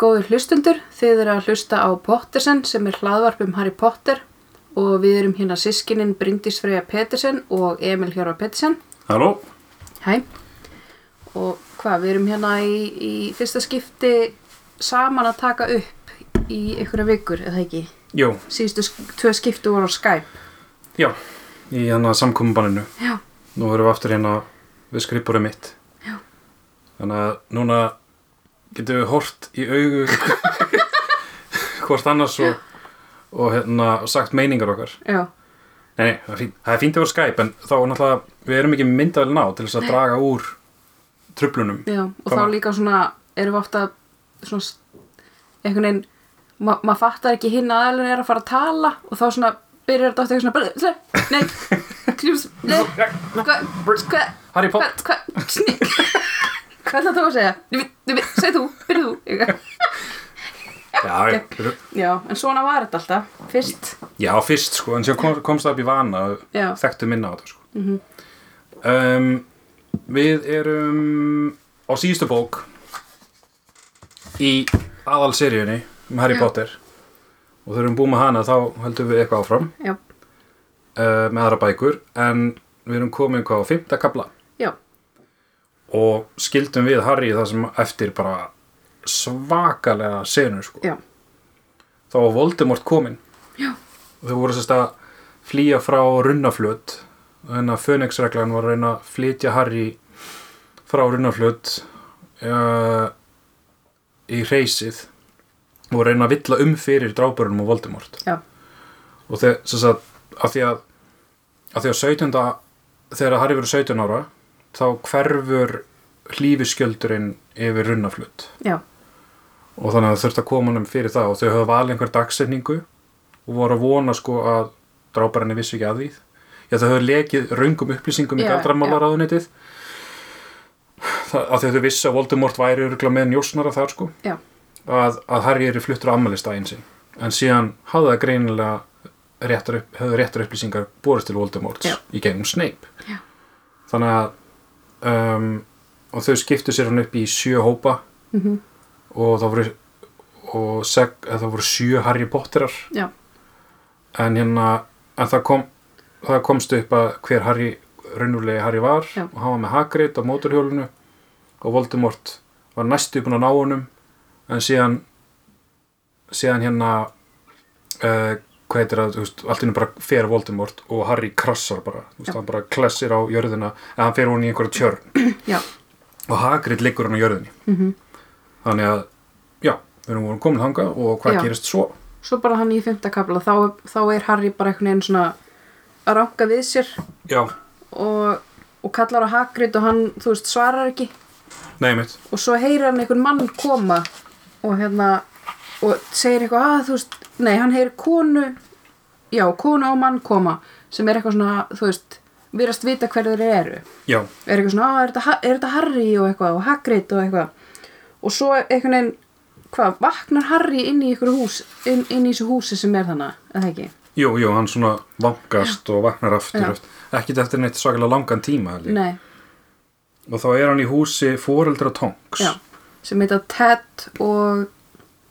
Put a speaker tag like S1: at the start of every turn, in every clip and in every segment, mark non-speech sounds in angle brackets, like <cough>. S1: Góður hlustundur, þið eru að hlusta á Pottersen sem er hlaðvarp um Harry Potter og við erum hérna sískinin Bryndís Freyja Petersen og Emil Hjörvar Petersen.
S2: Halló,
S1: Hæ. Og hvað, við erum hérna í, í fyrsta skipti saman að taka upp í einhverja vikur, eða ekki?
S2: jú,
S1: Síðustu sk- tvö skipti voru á Skype.
S2: já, í hana samkombanninu.
S1: Já.
S2: Nú erum við aftur hérna við skrippurum mitt.
S1: Já.
S2: Þannig að núna getum við hort í augu <laughs> hvort annars og, og hérna, sagt meiningar okkar.
S1: Já,
S2: Nei, nei, það er fínt- það er fínt yfir Skype en þá er náttúrulega, við erum ekki myndavel ná til þess að draga úr tröflunum.
S1: já. Og
S2: Hvað
S1: þá
S2: var-
S1: líka svona, erum við ofta svona s- einhvern veginn, ma maður fattar ekki hinn aðalinn er að fara að tala og þá svona byrjar þetta ofta eitthvað svona bara, hle, nei, kljús, nei, hvað, hvað,
S2: Harry Potter,
S1: hvað, hvað, sni, hvað ætlaði þú að segja? Nei, nei, nei, Segð þú, byrju þú, eitthvað.
S2: já, já,
S1: Já, en svona var þetta alltaf, fyrst
S2: já, fyrst sko, en sér kom, komst það upp í vana að
S1: Já,
S2: þekktu minna á þetta sko. um, við erum á síðustu bók í aðalseríunni um Harry
S1: Já.
S2: Potter og þegar við erum búin með hana þá höldum við eitthvað áfram
S1: já,
S2: uh, með aðra bækur en við erum komin hvað á fymta kapla
S1: já,
S2: og skildum við Harry það sem eftir bara svakalega senu sko.
S1: já,
S2: þá var Voldemort komin
S1: Já.
S2: og þau voru sérst að flýja frá runnaflöt þannig að Fönixreglan var að reyna að flytja Harry frá runnaflöt uh, í reysið og reyna að villa um fyrir dráburunum og Voldemort
S1: já,
S2: og þeir, sem sagt, af því að af því að 17. þegar Harry verið 17 ára þá hverfur hlífiskjöldurinn yfir runnaflöt
S1: já,
S2: og þannig að það þurfti að koma honum fyrir það og þau höfðu valið einhver dagsetningu og voru að vona sko að dráparinni vissu ekki að því já þau höfðu lekið raungum upplýsingum í
S1: Já,
S2: galdramálaráðunitið að þau þau vissu að Voldemort væri örgla með njósnara þar sko
S1: já,
S2: að, að Harry eru fluttur á ammælistæðin sinn en síðan hafði það greinilega réttar upp, höfðu réttar upplýsingar borist til Voldemort
S1: Já.
S2: í gegnum Snape
S1: Já.
S2: þannig að um, og þau skiptu sér hann upp í sjö hópa
S1: Mhm.
S2: og það voru og seg, eða það voru sjö Harry Potterar
S1: já,
S2: en hérna en það, kom, það komst upp að hver Harry raunulegi Harry var
S1: Já.
S2: og hann var með Hagrid á mótorhjólinu og Voldemort var næstu búin að ná honum en síðan síðan hérna uh, hvað heitir að, þú veist, allt innum bara fer Voldemort og Harry krassar bara, þú veist,
S1: Já.
S2: hann bara klessir á jörðina en hann fer hún í einhverja tjörn
S1: já,
S2: og Hagrid liggur hann á jörðinni
S1: Mhm.
S2: þannig að, já, við erum voru komin þangað og hvað
S1: Já.
S2: gerist svo?
S1: Svo bara hann í fymta kapla, þá, þá er Harry bara einhvern veginn svona að ranka við sér
S2: Já,
S1: og, og kallar á Hagrid og hann, þú veist, svarar ekki
S2: nei mitt
S1: og svo heyrir hann einhvern mann koma og hérna og segir eitthvað að þú veist nei, hann heyrir konu já, konu og mann koma sem er eitthvað svona, þú veist, virast vita hverju þeir eru
S2: Já,
S1: er eitthvað svona, "Á, er þetta, Ha- er þetta Harry og eitthvað og Hagrid og eitthvað og svo einhvern veginn, hvað, vaknar Harry inn í ykkur hús, inn, inn í þessu húsi sem er þannig, eða ekki?
S2: Jú, jú, hann svona vangast og vaknar aftur
S1: Já.
S2: eftir, ekkit eftir neitt svakalega langan tíma held ég.
S1: Nei,
S2: og þá er hann í húsi fóreldra tongs
S1: já, sem heita Ted og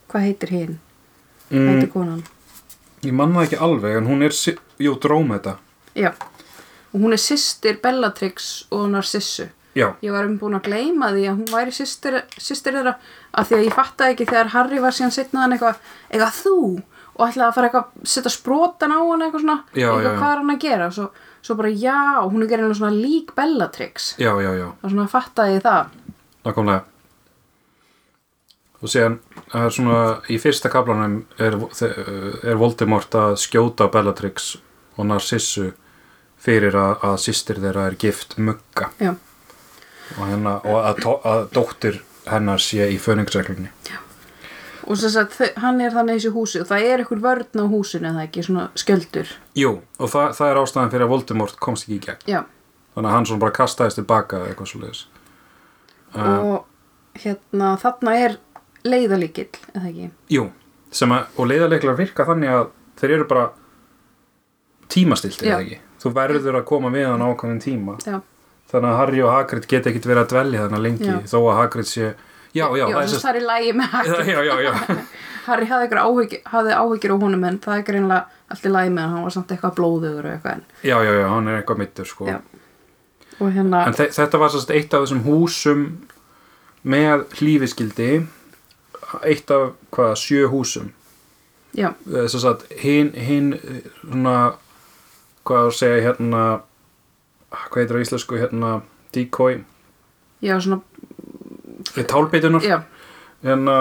S1: hvað heitir hinn?
S2: Mm.
S1: Hvað heitir konan?
S2: ég manna ekki alveg en hún er, si- jú, dróm þetta
S1: Já, og hún er systir Bellatrix og Narcissu.
S2: já,
S1: Ég var um búin að gleyma því að hún væri systir, systir þeirra að því að ég fattaði ekki þegar Harry var síðan setnaðan eitthvað, eitthvað þú og ætlaði að fara eitthvað setja sprótan á hann eitthvað svona,
S2: Já,
S1: eitthvað
S2: já, já.
S1: hvað er hann að gera svo, svo bara já, hún er gerðin svona lík Bellatrix
S2: já, já, já,
S1: og svona fattaði ég það
S2: nákvæmlega og síðan það er svona, í fyrsta kaplanum er, er Voldemort að skjóta Bellatrix og Narcissu fyrir að, að systir þeirra er gift mugga
S1: já,
S2: og, hennar, og að, to- að dóttir hennar sé í föningsreglunni
S1: og sem sagt þau- hann er þannig í þessu húsi og það er eitthvað vörn á húsinu eða ekki, svona skjöldur
S2: Jú, og það, það er ástæðan fyrir að Voldemort komst ekki í gegn.
S1: já,
S2: Þannig að hann svona bara kastaðist tilbaka eða eitthvað Uh, svo leiðis.
S1: Mm. og hérna þarna er leiðalíkil eða ekki,
S2: Jú, sem að, og leiðarleiklar virka þannig að þeir eru bara tímastiltir
S1: Já.
S2: eða ekki. Þú verður að koma við hann ákvæmum tíma.
S1: já,
S2: Þannig að Harry og Hagrid geta ekkit verið að dvelja þannig lengi
S1: Já.
S2: þó að Hagrid sé já, já,
S1: já,
S2: það er
S1: þess
S2: sem-
S1: að það er í lægi með Harry
S2: <laughs> já, já, já,
S1: Harry hafði, einhverjar áhyggjur, hafði áhyggjur á honum en það er greinlega allt í lægi með hann hann var samt eitthvað blóðugur og eitthvað en,
S2: já, já, já, hann er eitthvað mittur sko.
S1: Já. og hérna,
S2: en þe þetta var sérst eitt af þessum húsum með hlífiskildi eitt af hvað, sjö húsum
S1: já,
S2: þess að hinn Eh, hin, svona hvað á að segja hérna hvað heitir á íslensku hérna decoy,
S1: já, svona
S2: eh, tálbeitunar
S1: já,
S2: hérna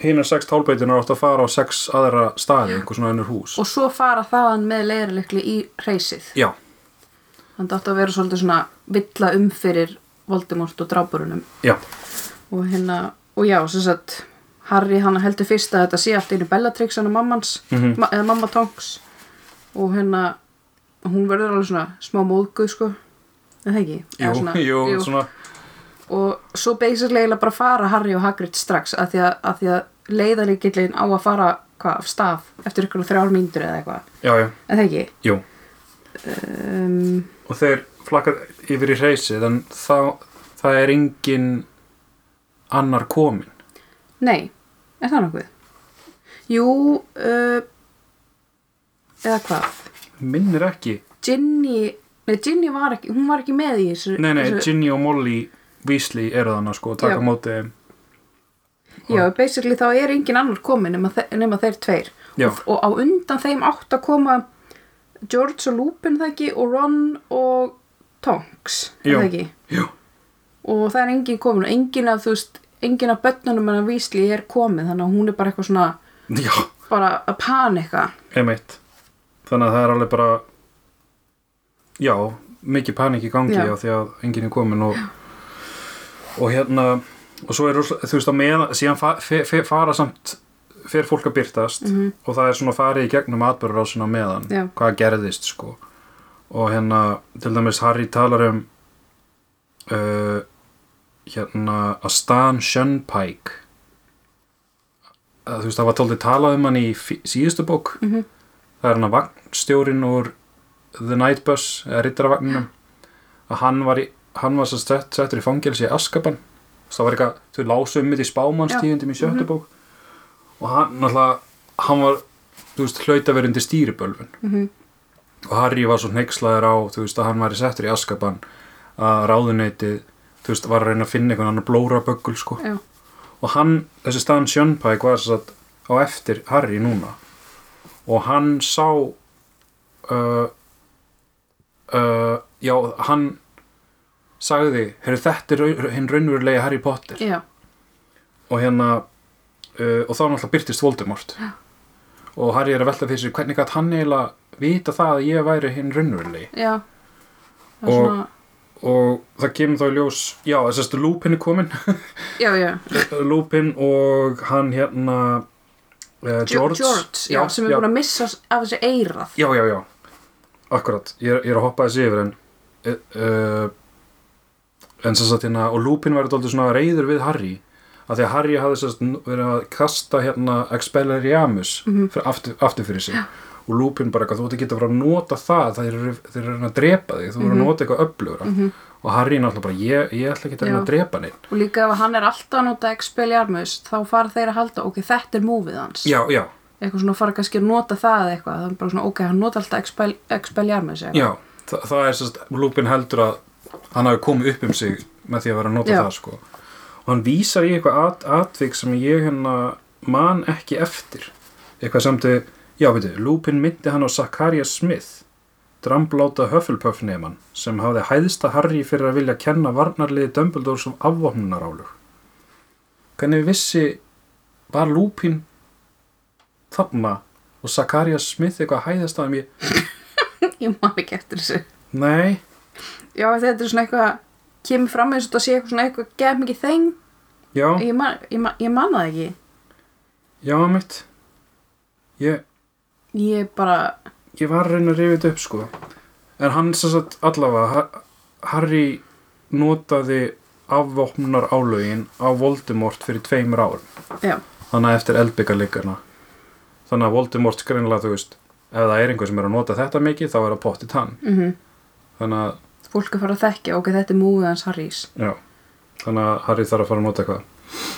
S2: hinn er sex tálbeitunar áttu að fara á sex aðra staði, einhver svona ennur hús
S1: og svo fara þaðan með leirilikli í reysið
S2: já,
S1: þannig átti að vera svolítið svona villa um fyrir Voldemort og dráburunum
S2: já,
S1: og hérna, og já, sem sagt Harry hann heldur fyrst að þetta sé allt einu Bellatrix hann og mammans,
S2: Mhm.
S1: ma eða mamma Tonks og hérna hún verður alveg svona smá móðguð sko en það ekki
S2: jú,
S1: Eða
S2: jú, svona
S1: og svo basically eiginlega bara fara Harry og Hagrid strax að því að, að, því að leiðarleikillin á að fara hvað, af stað eftir ykkur þrjár mínútur eða eitthvað
S2: já, já,
S1: en það ekki
S2: jú
S1: um,
S2: og þeir flakkar yfir í reysið en þá, það er engin annar komin
S1: Nei, er það nokkuð? Jú, uh, eða hvað?
S2: minnir ekki,
S1: Ginny, nei Ginny var ekki, hún var ekki með í þessu.
S2: nei, nei,
S1: þessu,
S2: Ginny og Molly Weasley eru þannig sko, og taka
S1: Já.
S2: á móti þeim
S1: Já, basically þá er engin annar komin nema, þe nema þeir tveir.
S2: Já.
S1: Og, og á undan þeim átt að koma George og Lupin það ekki og Ron og Tonks, er
S2: Jú.
S1: það ekki?
S2: Jú.
S1: Og það er engin komin og engin af, þú veist, engin af börnunum hennar Weasley er komin þannig að hún er bara eitthvað svona,
S2: já,
S1: bara að panika.
S2: einmitt þannig að það er alveg bara já, mikið panik í gangi
S1: Já.
S2: já. því að enginn er komin og, og hérna og svo er rosa- þú veist að með síðan fa, fe, fe, fara samt fer fólk að byrtast
S1: Mhm.
S2: og það er svona farið í gegnum atbyrðurásuna meðan
S1: Já.
S2: hvað gerðist sko og hérna til dæmis Harry talar um uh, hérna að Stan Shunpike að, þú veist það var tóldi talað um hann í fí- síðustu bók
S1: Mhm.
S2: það er hann að vagnstjórin úr The Night Bus eða rittarvagninum að hann var, í, hann var sett, sett, settur í fangelsi í Askaban það var eitthvað, þau lásu um mitt í spámannstíðundum í
S1: Mhm,
S2: sjöttu bók og hann náttúrulega hann var, þú veist, hlautaverundi stýribölvun
S1: Mhm.
S2: og Harry var svo hneykslaður á þú veist að hann væri settur í Askaban að ráðuneytið þú veist var að reyna að finna einhvern annan blóraböggul sko
S1: Já.
S2: og hann þessi staðan Sjönpæk var þess að á eftir Harry núna og hann sá uh, uh, já hann sagði heyrðu þetta er rau- hinn raunverulegi Harry Potter
S1: Já,
S2: og hérna uh, og þá náttúrulega byrtist Voldemort og Harry er að velta fyrir sér hvernig gætt hann eiginlega vita það að ég væri hinn raunverulegi
S1: já. Það er
S2: Og-
S1: svona...
S2: og það kemur þá í ljós já, þessi Lupin er komin
S1: já, já,
S2: <laughs> Lupin og hann hérna uh, George,
S1: já, sem er
S2: já,
S1: búin að missa s- af þessu eirað
S2: já, já, já, akkurat ég, er- ég er að hoppa þessi yfir en uh, uh, en sem sagt hérna og Lupin var þetta svona reyður við Harry að því að Harry hafði sem sagt, nú- verið að kasta hérna Expelliarmus
S1: Mhm.
S2: fyrir aftur, aftur fyrir sig og Lupin bara eitthvað, þú ert ekki að fara að nota það þeir eru, þeir eru að reyna að drepa þig þú eru að
S1: Mhm.
S2: nota eitthvað öflugra
S1: Mhm.
S2: og Harry náttúrulega bara, ég, ég ætla ekki að reyna
S1: Já.
S2: að drepa neitt
S1: og líka ef hann er alltaf að nota Expelliarmus þá fara þeir að halda, ok, þetta er múfið hans
S2: já, já,
S1: eitthvað svona fara kannski að nota það eða eitthvað, það er bara svona, ok, hann nota alltaf Expel, Expelliarmus eða eitthvað.
S2: Já, þa það er sérst, Lupin heldur að hann hafi komið upp um sig með því að vera að nota
S1: Já.
S2: það sko. og hann vísar í eitthvað at atvik sem ég hérna man ekki eftir eitthvað samt að, já veitu, Lupin myndi hann á Zakaria Smith drambláta Hufflepuff neman sem hafði hæðsta Harry fyrir að vilja kenna varnarliði Dumbledore sem afvopnunarálug hvernig vissi var Lupin þarna og Zakaria Smith eitthvað hæðasta um ég,
S1: ég man ekki eftir þessu
S2: nei
S1: já, þetta er svona eitthvað kemur fram eins og þetta sé eitthvað svona eitthvað gef mikið þeng,
S2: Já,
S1: ég man, ég, man, ég man það ekki
S2: já mitt ég,
S1: ég bara,
S2: ég var að reyna að rifja þetta upp sko En hann sem sagt allavega Ha- Harry notaði afvopnar álögin á Voldemort fyrir tveimur árum
S1: já,
S2: Þannig að eftir eldbyggarleikana Þannig að Voldemort skrinlega þú veist Ef það er einhver sem er að nota þetta mikið þá er það pottið hann
S1: mhm
S2: Þannig að,
S1: fólk er fara að þekkja, ok, þetta er múfið hans Harrys
S2: já Þannig að Harry þarf að fara að nota eitthvað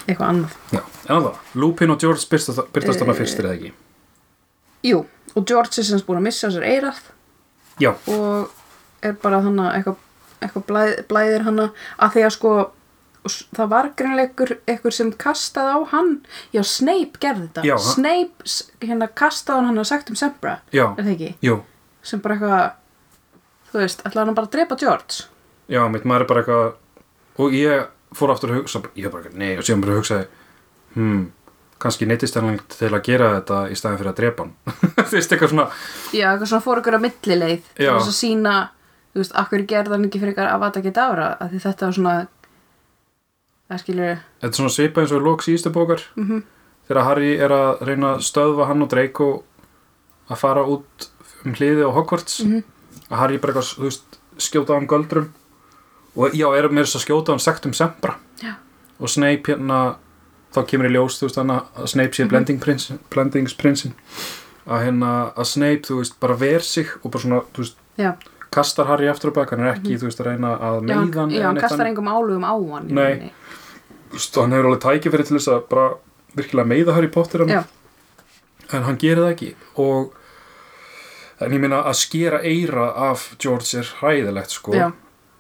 S1: eitthvað annað
S2: Já, en alveg, Lupin og George byrtast, byrtast þarna fyrst er það ekki
S1: Jú, og George er sem sagt búin að missa sér eirað
S2: Já,
S1: og er bara þannig eitthvað, eitthvað blæð, blæðir hana að því að sko s- það var greinleikur eitthvað sem kastaði á hann já Snape gerði þetta
S2: Já, hann-
S1: Snape s- hérna kastaði hann hann að sagt um Sembra
S2: já,
S1: er það ekki
S2: jú
S1: sem bara eitthvað þú veist ætlaði hann bara að drepa George
S2: Já, mitt maður er bara eitthvað og ég fór aftur að hugsa ég bara, eitthvað, nei, og síðan bara hugsaði hmm, kannski neittist hann til að gera þetta í staðin fyrir að drepa hann <laughs> Fyrst eitthvað svona,
S1: já eitthvað svona fór ykkur að millileið til
S2: Já.
S1: þess að sína þú veist akkur gerði hann ekki fyrir ykkar að vata ekki dára að því þetta var svona það skilur
S2: þetta er svona svipað eins og lók síðustu bókar -hmm.
S1: Mhm.
S2: þegar Harry er að reyna að stöðva hann og Draco að fara út um hliði á Hogwarts
S1: Mhm.
S2: -hmm. að Harry bara eitthvað, þú veist, skjóta á hann göldrum og já, er með þess að skjóta á hann sektum sembra
S1: já
S2: og Snape hérna þá kemur í ljós, þú veist, hann að Snape sé
S1: Mhm.
S2: mm -hmm. blendingsprinsin að hérna, að Snape, þú veist, bara ver sig og bara svona, þú veist,
S1: já, Mhm.
S2: kastar Harry aftur á bak, hann er ekki, þú veist, að reyna að
S1: já, hann,
S2: meiðan
S1: já, hann kastar engum álugum á hann í
S2: Nei.
S1: rauninni.
S2: hann hefur alveg tækifæri til þess að bara virkilega meiða Harry Potter hann,
S1: já,
S2: en hann gerir það ekki og en ég meina að skera eira af George er hræðilegt, sko
S1: já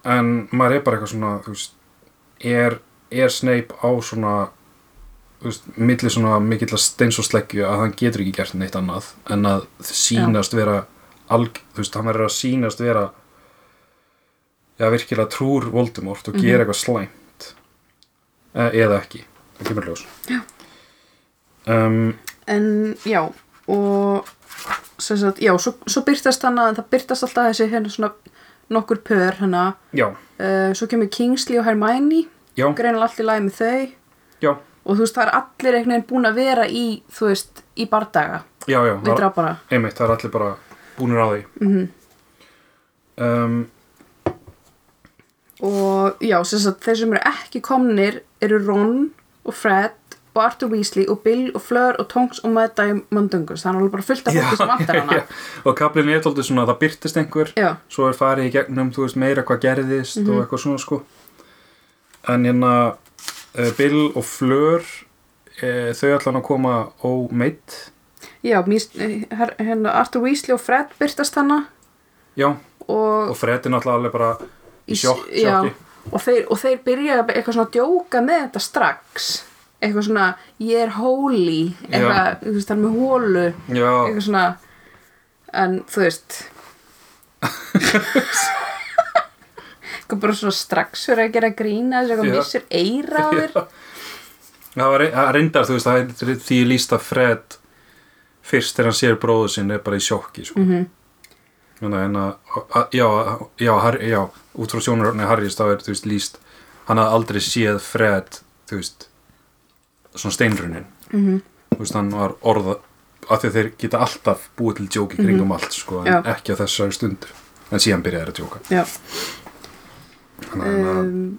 S2: en maður er bara eitthvað svona þú veist, er, er Snape á svona þú veist, milli svona mikill að steins og sleggju að hann getur ekki gert neitt annað en að sínast vera alg, þú veist, hann verður að sínast vera já, virkilega trúr Voldemort og gera eitthvað slæmt e eða ekki það kemur ljós um,
S1: en já og sem sagt, já, svo, svo byrtast hana en það byrtast alltaf þessi hérna svona nokkur pör hana
S2: já,
S1: uh, svo kemur Kingsley og Hermione
S2: já,
S1: greinlega allt í lagi með þau
S2: já
S1: og þú veist það er allir einhvern veginn búin að vera í þú veist, í bardaga
S2: já, já,
S1: við
S2: það-
S1: drafara
S2: einmitt, það er allir bara búnir á því mm um,
S1: og já, sem sagt, þeir sem eru ekki komnir eru Ron og Fred og Arthur Weasley og Bill og Fleur og Tonks og Mæta í Mundungus það er alveg bara fullt af fólki sem vantar hana
S2: <laughs> já. og kaplinn er tóldi svona að það byrtist einhver
S1: já,
S2: svo er farið í gegnum, þú veist, meira hvað gerðist
S1: Mhm.
S2: og eitthvað svona sko en hérna eh, Bill og Fleur e, þau allan að koma ómeitt
S1: já mis, her, hérna, Arthur Weasley og Fred byrtast hana
S2: já,
S1: og
S2: og Fred er náttúrulega alveg bara í
S1: Í s-
S2: sjokk,
S1: já.
S2: sjokki
S1: og þeir, og þeir byrja eitthvað svona að djóka með þetta strax eitthvað svona ég er holy eitthvað,
S2: Já.
S1: þú veist, hann er með hólu
S2: já,
S1: eitthvað svona en þú veist eitthvað bara svona strax fyrir að gera grína þessu eitthvað
S2: Já.
S1: missir eira á þér
S2: það var það reyndar, þú veist, það er því líst að Fred fyrst þegar hann sér bróðu sinn er bara í sjokki sko. mm -hmm. en að að- já, að- já, Harry, já, út frá sjónurörni Harrys þá er, þú veist, líst hann hafði aldrei séð Fred þú veist, svona steinrunin mm -hmm. þú veist, hann var orða af því að þeir geta alltaf búið til djóki kringum allt, sko, en
S1: Já.
S2: ekki á þessari stundu en síðan byrjaði þeir að djóka
S1: já
S2: þannig að, um,
S1: um,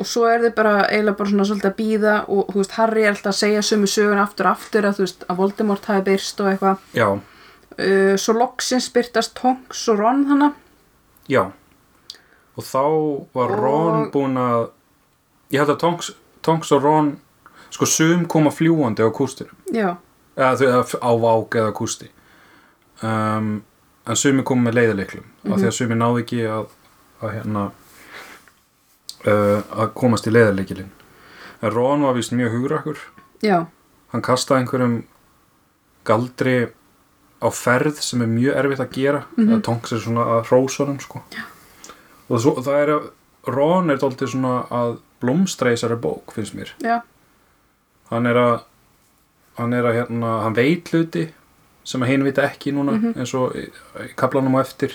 S1: og svo er þið bara eiginlega bara svona svolítið að býða og þú veist Harry er alltaf að segja sömu sögun aftur og aftur að þú veist að Voldemort hafi byrst og eitthvað
S2: já,
S1: uh, svo loksins byrtast Tonks og Ron hana
S2: já og þá var
S1: Og-
S2: Ron búinn að ég held að Tonks, Tonks og Ron sko, sum koma fljúandi á kústinum
S1: já,
S2: eða þau eða á vák eða kústi um, en sumi kom með leiðarleiklum af því að sumi náði ekki að, að hérna uh, að komast í leiðarleikilinn en Ron var vist mjög hugrakkur
S1: já,
S2: hann kastaði einhverjum galdri á ferð sem er mjög erfitt að gera eða tongs er svona að hrósa honum sko. og svo, það er að Ron er dálítið svona að blómstra í þessari bók finnst mér
S1: já,
S2: hann er að hann er að hérna, hann veit hluti sem að hinn vita ekki núna eins og í, í kaplanum á eftir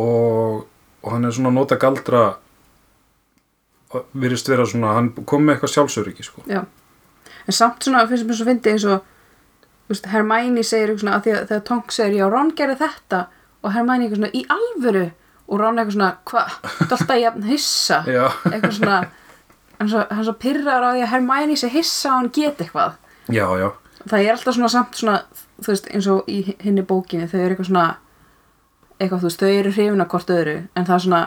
S2: og, og hann er svona að nota galdra og virðist vera svona, hann kom með eitthvað sjálfsöryggi sko.
S1: já en samt svona finnst mér svo fyndi eins og þú veist, Hermione segir eitthvað svona að því að þegar Tonks segir já, Ron gerði þetta og Hermione eitthvað svona í alvöru og Ron eitthvað svona, hvað, þetta er alltaf jafn hissa
S2: Já,
S1: eitthvað svona hann svo, hann svo pyrrar á því að Hermione sé hissa og hann get eitthvað
S2: já, já
S1: það er alltaf svona samt svona þú veist, eins og í hinni bókinni þau eru eitthvað svona eitthvað, þú veist, þau eru hrifin að hvort öðru en það er svona,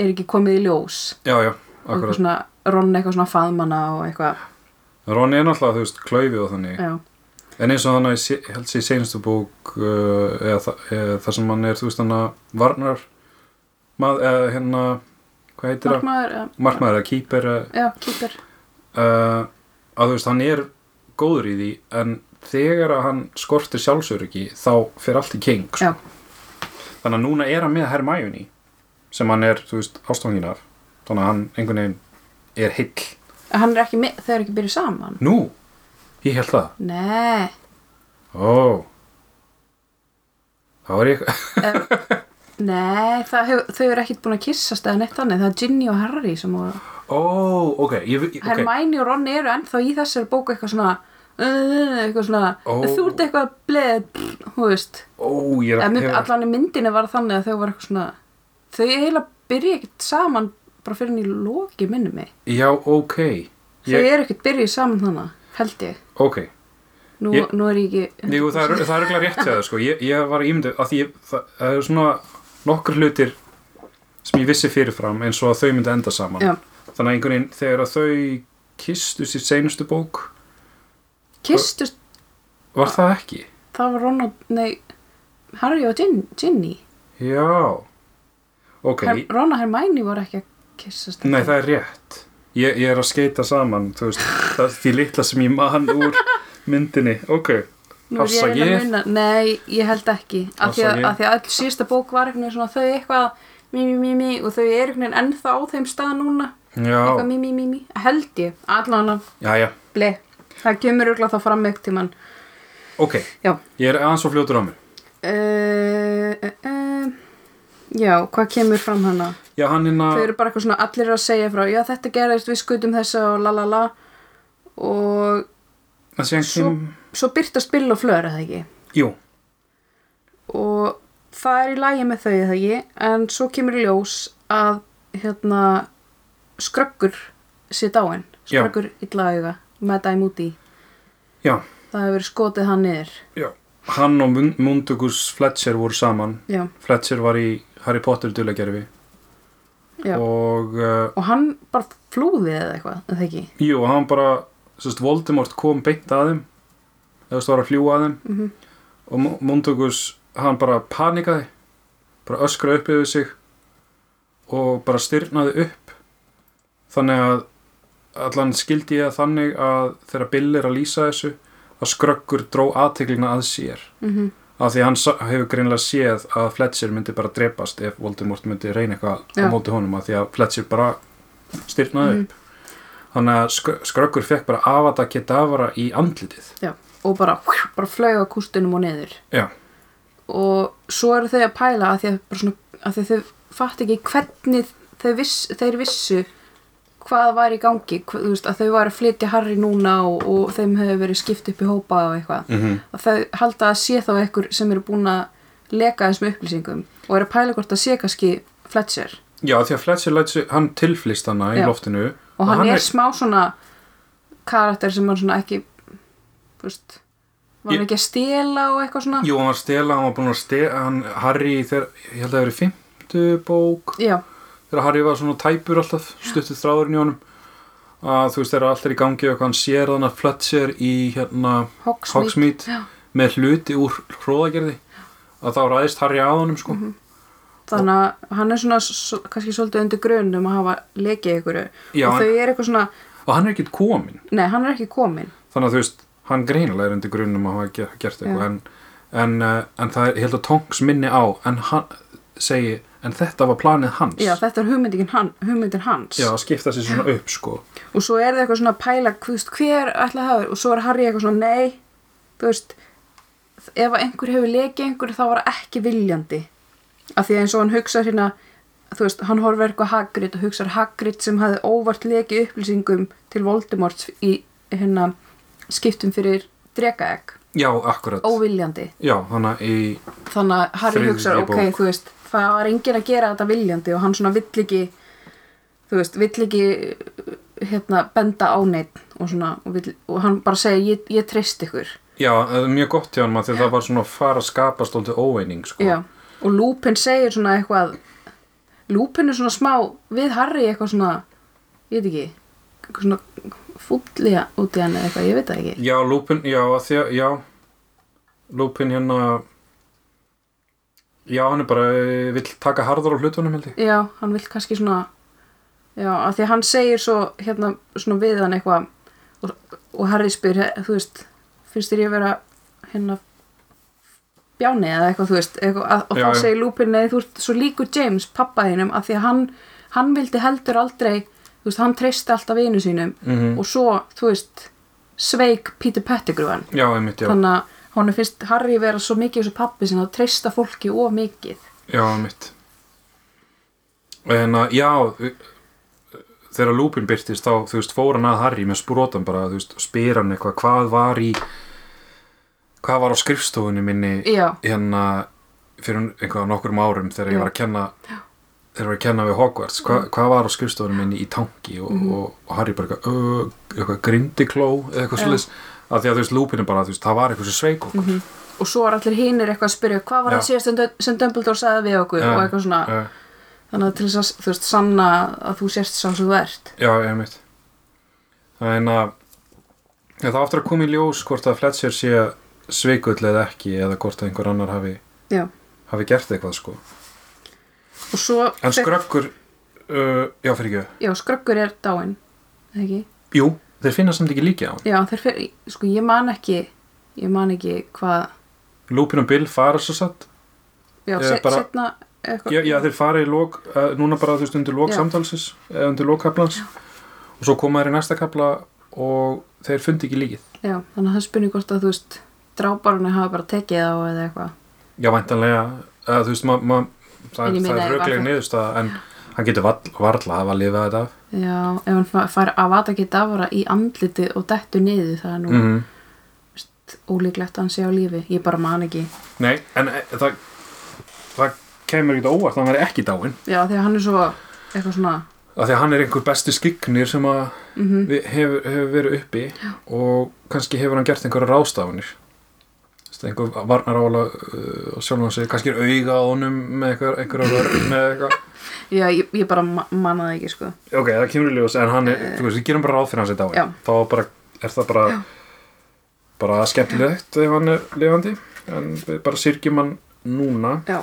S1: er ekki komið í ljós
S2: Já, já,
S1: og eitthvað
S2: akkurat.
S1: svona, Ron eitthvað svona faðmana og eitthvað,
S2: Ronny er náttúrulega, þú veist, klaufið og þannig
S1: já,
S2: En eins og þannig, að ég sé- held sér í seinustu bók uh, eða, þa eða það sem hann er, þú veist, hann að varnar mað, eða, hérna, hvað heitir það?
S1: markmaður, eða-
S2: Markmaður eða kýper eða,
S1: já, kýper,
S2: uh, að þú veist, hann er góður í því en þegar að hann skortir sjálfsöryggi þá fer allt í king sko.
S1: já,
S2: þannig að núna er hann með Hermione sem hann er, þú veist, ástofangin af þannig að hann einhvern veginn er heill
S1: hann er ekki með, þau eru ekki byrjuð saman,
S2: nú, ég held það
S1: nei,
S2: ó þá er ég
S1: nei, það hef, þau eru ekki búin að kyssast eða neitt þannig, það er Ginny og Harry sem voru,
S2: ó, ok, ég, ok
S1: Hermæni og Ron eru ennþá í þessari bóku eitthvað svona, uh, eitthvað svona,
S2: Ó.
S1: þú ert eitthvað bleð, pff, þú veist,
S2: ó, ég
S1: Eða
S2: er
S1: mynd,
S2: hefur-
S1: allan í myndinni var það þannig að þau var eitthvað svona þau eiginlega byrja ekkert saman bara fyrir henni í loki minni mig
S2: já, ok
S1: þau
S2: ég,
S1: eru ekkert byrjuð saman þannig held ég,
S2: ok,
S1: nú,
S2: Ég-
S1: nú er ég ekki
S2: Jú, það er, það er ekki rétt hjá það, sko. Ég, ég var ímyndu, að því ég, það, það er svona nokkur hlutir sem ég vissi fyrirfram eins og að þau myndi enda saman.
S1: Já.
S2: Þannig að einhvern veginn, þegar að þau kistu sér seinustu bók,
S1: kistust,
S2: var það ekki?
S1: það var Ron og, nei Harry og Gin, Ginny
S2: Já. Ok,
S1: Her, Ron og Hermione voru ekki að kissast
S2: nei, það er rétt. Ég, ég er að skeita saman, þú veist, það er því litla sem ég man úr myndinni. Ok,
S1: Nú er ég eiginlega að muna, nei, ég held ekki af því að,
S2: Afsakið.
S1: að, því að all síðasta bók var eitthvað svona þau eitthvað mí, mí, mí, mí og þau eru einhvern veginn ennþá á þeim stað núna eitthvað
S2: já,
S1: mí, mí, mí, mí, held ég allan að
S2: já, já,
S1: Ble, það kemur auðvitað þá fram eitt tíman.
S2: ok,
S1: Já.
S2: ég er aðeins og fljótur á mér.
S1: Uh, uh, uh, já, hvað kemur fram hana?
S2: Já, hann hérna...
S1: Þau eru bara eitthvað svona allir eru að segja frá, já þetta gerðist, við skutum þessa og la la la og
S2: að síðan
S1: svo,
S2: kem-
S1: svo byrtast bill og flöra það ekki
S2: Jú,
S1: og það er í lagi með þau það ekki en svo kemur í ljós að hérna skröggur sér dáin,
S2: Já.
S1: skröggur illa auga með dæmúti,
S2: já.
S1: það hefur verið skotið hann niður,
S2: Já. Hann og Mun- Mundungus Fletcher voru saman.
S1: já,
S2: Fletcher var í Harry Potter dulagerfi
S1: já og,
S2: og uh,
S1: hann bara flúði eða eitthvað, er það ekki
S2: jú, hann bara, sérst, Voldemort kom beint að þeim, eða stóra að fljúa að þeim
S1: Mhm.
S2: og Mu- Mundungus, hann bara panikaði, bara öskraði upp yfir sig og bara styrnaði upp þannig að allan skildi ég það þannig að þegar Bill er að lýsa þessu að skröggur dró aðteklina að sér
S1: mm -hmm.
S2: af því hann sa- hefur greinlega séð að Fletcher myndi bara drepast ef Voldemort myndi reyna eitthvað á
S1: Já.
S2: móti honum af því að Fletcher bara styrnaði
S1: Mhm.
S2: upp þannig að skr skrökkur fekk bara Avada Kedavra í andlitið
S1: Já, og bara, bara flög á kústunum og niður.
S2: já,
S1: Og svo eru þau að pæla að því að, bara svona, að því að þau fatt ekki hvernig þau viss, þeir vissu hvað var í gangi, hva, þú veist, að þau var að flytja Harry núna og, og þeim hefur verið skipt upp í hópa og eitthvað.
S2: mm -hmm.
S1: Að þau halda að sé þá einhver sem eru búin að leka þessum upplýsingum og eru að pæla hvort að sé kannski Fletcher.
S2: já af því að Fletcher læt sig, hann tilflýst hana í
S1: Já.
S2: loftinu
S1: Og hann, er, smá svona karakter sem hann svona ekki, þú veist, var hann
S2: Ég-
S1: ekki að stela og eitthvað svona?
S2: jú, hann var að stela, hann var búin að stela hann, Harry, þegar, ég held að það verið fimmtu bók
S1: Já,
S2: þegar Harry var svona tæpur alltaf stuttið þráðurinn í honum að þú veist þegar allt er í gangi og eitthvað hann sér þannig að Fletcher í hérna
S1: Hogsmeade.
S2: Hogsmeade
S1: Já.
S2: með hluti úr hróðagerði að þá ræðist Harry að honum sko
S1: Mhm. þannig að hann er svona s- kannski svolítið undir grunum að hafa lekið ykkur
S2: Já,
S1: og
S2: en-
S1: þau eru eitthvað svona
S2: og hann er ekkert kominn
S1: nei, hann er ekki komin
S2: þannig að þú veist hann greinilega er undir grunnum að hafa ge- gert eitthvað
S1: Já.
S2: en, en, eh, en það er ég held að Tonks minni á en hann segi en þetta var planið hans
S1: já, þetta er hugmyndin, hann, hugmyndin hans
S2: Já, að skipta sér svona upp sko
S1: og svo er það eitthvað svona að pæla þú veist, hver ætla að hafa og svo er Harry eitthvað svona nei þú veist, ef að einhver hefur lekið einhver þá var það ekki viljandi af því að eins og hann hugsa hérna þú veist, hann horfir eitthvað Hagrid og hugsar Hagrid sem hafði óvart lekið upplýsingum til Voldemorts í hérna skiptum fyrir drekaegg,
S2: Já, akkurat
S1: óviljandi
S2: Já, þannig að í
S1: þannig að Harry
S2: Þriðji
S1: hugsar, ok,
S2: bók.
S1: þú veist það var enginn að gera þetta viljandi og hann svona vill ekki þú veist, vill ekki hérna, benda á neitt og svona, og, vill, og hann bara segja ég, ég treyst ykkur,
S2: Já, það er mjög gott hjá hann maður því að það var svona að fara að skapa stóldið óeining sko
S1: já og Lúpin segir svona eitthvað Lúpin er svona smá við Harry eitthvað svona ég veit ekki eitthvað svona fúll í hann- út í hann eða eitthvað, ég veit það ekki
S2: Já, lúpin, já, af því að, já Lúpin hérna Já, hann er bara eh, vill taka harðar á hlutunum held ég
S1: Já, hann vil kannski svona Já, af því að hann segir svo hérna svona við hann eitthvað og, og Harry spyr, he- þú veist finnst þér ég vera hérna bjáni eða eitthvað, þú veist eitthvað, að, og
S2: Já,
S1: þá
S2: já.
S1: segir Lupin nei, þú ert svo líkur James, pappa þínum, af því að hann hann vildi heldur aldrei þú veist, hann treysti alltaf vinu sínum
S2: mm
S1: og svo, þú veist sveik Peter Pettigrew hann
S2: Já, einmitt, já,
S1: þannig að honum finnst Harry vera svo mikið eins og pappi sinna að treysta fólki of mikið
S2: já, einmitt En að, já eh, Þegar lúpin byrtist þá, þú veist, fór hann að Harry með sprótan bara, þú veist, spyr hann eitthvað hvað var í hvað var á skrifstofunni minni
S1: Já,
S2: hérna fyrir einhvað nokkrum árum þegar ég
S1: Já. Mm.
S2: var að kenna þegar ég var að kenna við Hogwarts hva, hvað var á skrifstofunum minni í tanki og,
S1: Mhm.
S2: og, og Harry bara eitthvað, "Ö, eitthvað grindikló eða eitthvað
S1: Já. Mhm.
S2: slis að því að þú veist lúpinu bara þú veist, það var eitthvað sem sveik okkur
S1: og svo er allir hinnir eitthvað að spyrja hvað var
S2: Já.
S1: það síðast sem, Dun- sem Dumbledore sagði við okkur
S2: Já.
S1: og eitthvað svona
S2: Eh,
S1: þannig að til þess að þú veist sanna að þú sérst sá sem þú ert
S2: já, ég mitt það er en að ja, það aftur að koma í ljós hvort að Fletcher sé sveikull eða ekki eða hvort að einhver annar hafi,
S1: Já.
S2: hafi gert eitthvað sko
S1: og svo
S2: en
S1: þeir-
S2: skrökkur uh, já, fyrir ekki
S1: já, skröggur er dáin eða ekki?
S2: jú, þeir finna samt ekki líkið á hann
S1: Já, þeir fyrir, sko ég man ekki ég man ekki hvað
S2: Lúpin og Bill fara svo satt
S1: já,
S2: Ég
S1: se,
S2: bara-
S1: setna eitthvað
S2: já, já, þeir fara í lók, uh, núna bara þú veist undir lók
S1: Já.
S2: samtalsins, uh, undir lókkaplans og svo koma þeir í næsta kapla og þeir fundi ekki líkið
S1: já, þannig að það spynir hvort að þú veist drábarunni hafa bara tekið á eða eitthvað
S2: já, væntanlega, uh, þú veist ma, ma,
S1: En
S2: það,
S1: ég
S2: er- það
S1: meina, ef
S2: er rögleg
S1: að-
S2: niðurstaða en hann getur vall, varla að lifa þetta af
S1: já, ef hann fa- fær að vata ekki dafara í andliti og dettu niður það er nú
S2: mm
S1: ólíklegt að hann sé á lífi ég bara man ekki
S2: nei, en uh, það það kemur ekkert á óvart, að hann er ekki dáinn
S1: Já, því að hann er svo eitthvað svona
S2: af því að hann er einhver besti skiknir sem að
S1: mm
S2: við- hefur, hefur verið uppi og kannski hefur hann gert einhverja rástafanir einhver varnar ála uh, og sjálfum hann segir kannski er auga á honum með einhver, einhverja vörn með eitthvað
S1: Já, ég, ég bara ma manna það ekki, sko
S2: ok, það kemur í ljós en hann er, þú veist, við gerum bara ráð fyrir hans í
S1: Já.
S2: dáin þá bara, er það bara bara skemmtilegt ef hann er lifandi en við bara syrgjum hann núna
S1: Já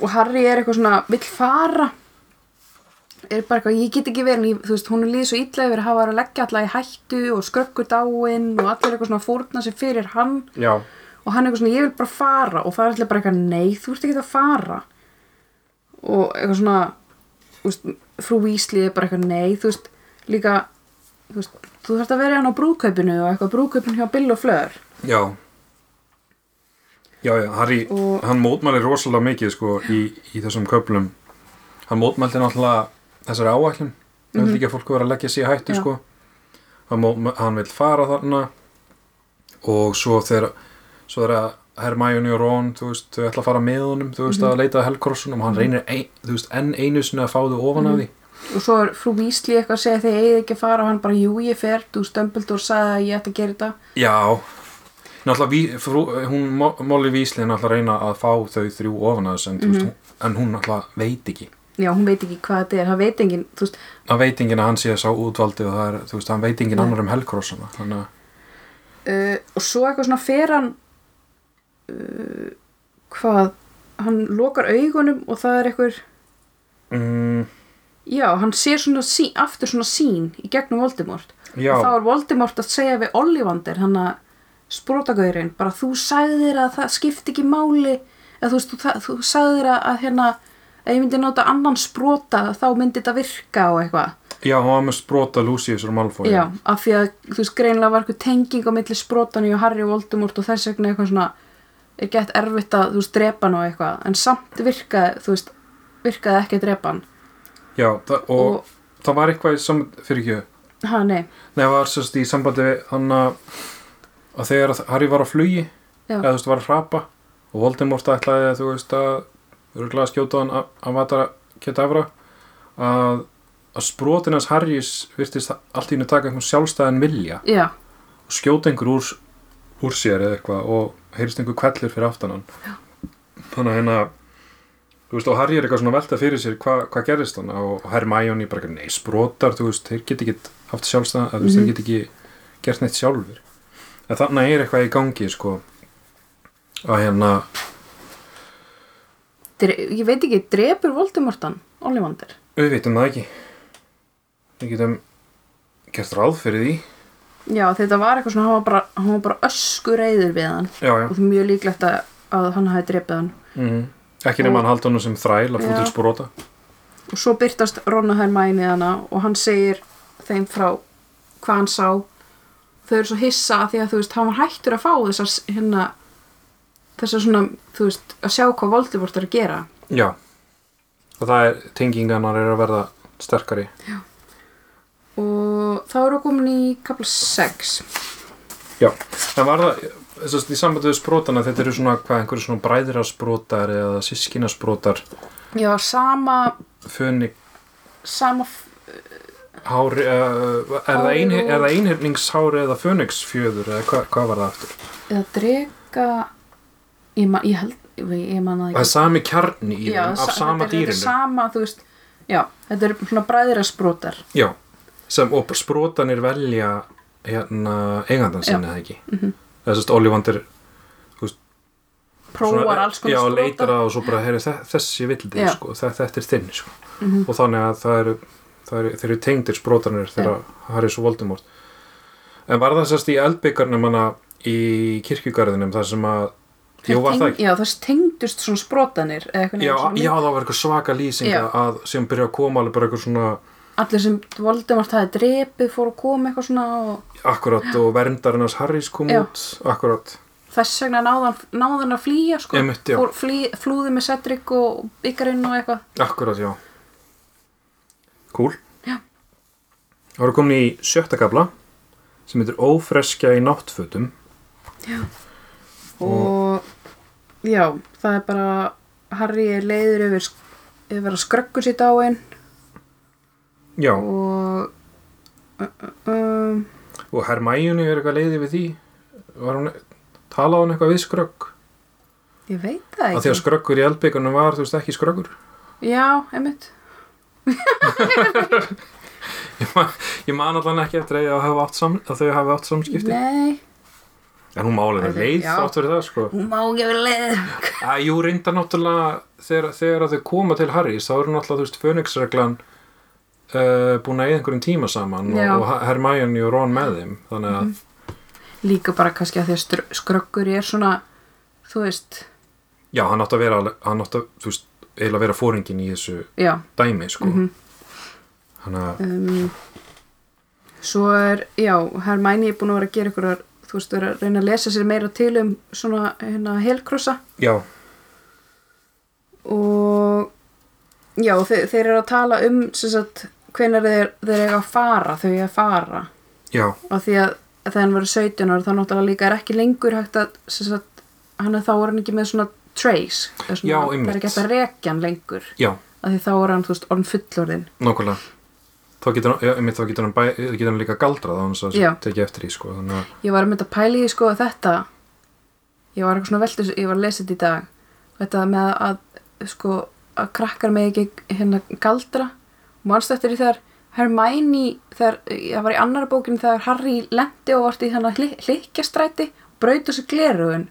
S1: Og Harry er eitthvað svona, vill fara er bara eitthvað, ég get ekki verið en ég, þú veist, hún er líð svo illa yfir að hafa verið að leggja alla í hættu og skröggur dáin og allir eitthvað svona að fórna sér fyrir hann
S2: já,
S1: og hann er eitthvað svona, ég vil bara fara og það er allir bara eitthvað, nei, þú ert ekki að fara og eitthvað svona þú veist, frú Weasley er bara eitthvað, nei, þú veist, líka þú veist, þú þarft að vera hann á brúkaupinu og eitthvað brúkaupinu hjá Bill og Fleur
S2: já já, já, Harry
S1: Og-
S2: hann mótmæli rosalega mikið sko í, í þessum köflum hann mótmælti náttúrulega þessari áætlun það vil ekki að fólk vera að leggja sér í
S1: Mhm.
S2: hættu
S1: Já.
S2: sko hann, mótmæ- hann vil fara þarna og svo þegar svo þegar Hermione og Ron þú veist, þau ætla að fara með honum þú
S1: Mhm.
S2: veist, að leita að Helgrossunum og hann reynir ein, þú veist, enn einu sinni að fá þau ofan
S1: Mhm.
S2: af því
S1: og svo er frú Weasley eitthvað að segja þegar eigið ekki að fara og hann bara, jú, ég fer, þú stömbild og sagði að ég ætti að gera þetta
S2: já náttúrulega, ví, frú, hún Mo- Molly Weasley er náttúrulega að reyna að fá þau þrjú ofan af þessu en,
S1: Mhm.
S2: mm veist, hún, en hún náttúrulega veit ekki
S1: já, hún veit ekki hvað þetta er, það veit engin þú veist,
S2: hann veit enginn að hann sé sá útvaldi og það er, þú veist, hann veit enginn annar um Helgrossana þannig að,
S1: uh, og svo eitthvað svona fer hann uh, hvað hann lokar augunum og það er eitthvað
S2: mm,
S1: Já, hann sér svona sí, aftur svona sín í gegnum Voldemort
S2: já,
S1: og þá er Voldemort að segja við Ollivander hann að sprótagaurinn bara þú sagðir að það skipti ekki máli eða þú veist, þú, það, þú sagðir að, að hérna, ef ég myndi nota annan spróta þá myndi þetta virka og eitthvað
S2: já, hann var með sprota Lucius og Malfoy
S1: Já, af því að þú veist greinlega var eitthvað tenging á milli sprótanu og Harry og Voldemort og þess vegna eitthvað svona er gett erfitt að þú veist drepa hann og eitthvað en samt virkaði, þú veist virkaði ekki að drepa hann
S2: Já, það, og,
S1: og,
S2: það var eitthvað í sam, fyrir ekki,
S1: ha, nei,
S2: nei, það var sérst í sambandi við hann að að þegar að Harry var á flugi
S1: Já.
S2: eða þú veist, var að hrapa og Voldemort ætlaði að þú veist að örgulega að skjóta hann að- að vata Kedavra að, að sprotin hans Harrys virtist allt í henni taka einhvern sjálfstæðan vilja
S1: já
S2: og skjóta einhver úr, úr sér eða eitthvað og heyrist einhver kvellur fyrir aftan hann þannig að hérna þú veist, og Harry er eitthvað svona að velta fyrir sér hva, hvað gerðist hann og Hermione bara eitthvað, nei, sprótar, þú veist, þeir get ekki haft sjálfstæðan, þú veist, þeir get ekki gert neitt sjálfur en þannig er eitthvað í gangi, sko að hérna
S1: Dre, ég veit ekki, drepur Voldemortan Ollivander
S2: við vitum um það ekki við getum gert ráð fyrir því
S1: já, þetta var eitthvað svona, hann var bara, hann var bara ösku reyður við hann
S2: já, já,
S1: og það er mjög líklegt að, að hann hafi drepið hann
S2: mm ekki nema hann haldi honum sem þræl að fú
S1: Já.
S2: til spróta
S1: og svo byrtast Ronna Hermæni hana og hann segir þeim frá hvað hann sá þau eru svo hissa af því að þú veist hann var hættur að fá þessar s- hérna þessar svona, þú veist, að sjá hvað Voldemort er að gera
S2: já, og það er tenginganar er að verða sterkari
S1: og þá eru komin í kapla 6
S2: Já, en var það þess að í sambandi við sprótana, þetta eru svona hvað, einhverju svona bræðrasprótar eða sískinasprótar,
S1: já, sama
S2: fönig
S1: sama, f-
S2: hári, uh, er, það ein,
S1: Hárið og-
S2: er það einhyrningshári eða fönigsfjöður eða hva, hvað var það aftur?
S1: eða drega ég, ma, ég held, ég, ég man það
S2: Það
S1: ekki
S2: er sami kjarni í
S1: Já,
S2: þeim, af
S1: sa-
S2: sama
S1: þetta er-
S2: dýrinu
S1: þetta er sama, þú veist, já, þetta er svona bræðirasprótar
S2: Já, sem og sprótanir velja hérna eigandan sinni eða ekki mm
S1: Mhm.
S2: -hmm. það er sérst Ollivandir
S1: prófar alls konar
S2: já,
S1: spróta
S2: leitar að og svo bara, heyri, þessi vildi
S1: Já. Mhm.
S2: sko, þe- þetta er þinn sko. og þannig að það eru, það eru, þeir eru tengdir sprótanir þegar Harry svo Voldemort en var það sérst í eldbyggarnum hana í kirkjugarðinum þar sem að
S1: Þeir
S2: jú, var það ekki
S1: Já, það tengdust svona sprotanir eða eitthvað
S2: Já,
S1: svona,
S2: já, það var eitthvað svaka lýsing
S1: Já.
S2: að sem byrja að koma alveg bara eitthvað svona
S1: Allir sem Voldemort hafi drepið fóru að koma eitthvað svona og
S2: akkurat og verndarinnars Harrys kom
S1: Já.
S2: út akkurat,
S1: þess vegna náðan, náðan að flýja sko.
S2: Einmitt, já.
S1: flý, flúði með Cedric og byggarinn og eitthvað
S2: akkurat, já Cool
S1: Já.
S2: Það voru komin í sjötta kabla sem heitir Ófreskja í náttfötum
S1: og já, það er bara Harry er leiður yfir, yfir að skröggur sér dáin
S2: Já,
S1: og uh, um,
S2: og Hermæjunni er eitthvað leiði við því var hún, talaði hún eitthvað við skrögg
S1: ég veit það
S2: að því að
S1: ekki
S2: skröggur í eldbyggunum var, þú veist, ekki skröggur <laughs>
S1: Já, einmitt
S2: ég man, ég man allan ekki eftir að, þau hafi átt sam, að þau hafi átt samskipti
S1: Nei,
S2: en hún málega
S1: Æ,
S2: leið
S1: já.
S2: þátt fyrir það, sko
S1: hún má ekki vera leið
S2: að jú, reynda náttúrulega þegar, þegar að þau koma til Harrys, þá eru náttúrulega, þú veist, Fönixreglan uh, búin að eða einhverjum tíma saman
S1: Já. Mhm.
S2: og, og Hermæjunni og Ron með þeim þannig að,
S1: líka bara kannski að því að str- skröggur er svona þú veist,
S2: já, hann átti að vera alveg- hann átti að, þú veist, eiginlega að vera fóringin í þessu
S1: já
S2: dæmi, sko
S1: Mhm.
S2: þannig að
S1: um, svo er, já, Hermæni er búin að vera að gera ykkur þú veist, vera að reyna að lesa sér meira til um svona hérna helkrossa
S2: Já,
S1: og já, þeir, þeir eru að tala um sem sagt, hvenær þeir, þeir eiga að fara þau eiga að fara
S2: já,
S1: og því að þegar hann verið 17 ára þá náttúrulega líka er ekki lengur hægt að sem sagt, hann er þá er hann ekki með svona trace, eða svona,
S2: Já,
S1: það
S2: einmitt.
S1: er ekki hægt að rekja hann lengur
S2: já,
S1: að því þá er hann, þú veist, orðin fullorðin
S2: nákvæmlega Þá getur hann, já, einmitt, þá getur hann, bæ, getur hann líka galdrað á hans að
S1: Já.
S2: tekja eftir í, sko Þannig að,
S1: ég var að mynda að pæla í því, sko þetta ég var eitthvað svona veldur ég var að lesa þetta í dag þetta með að, sko, að krakkar með ekki hérna galdra mannst eftir því þegar Hermæni þegar, það var í annar bókinu þegar Harry lendi og vart í þannig hli, hlikkjastræti braut þessu glerugun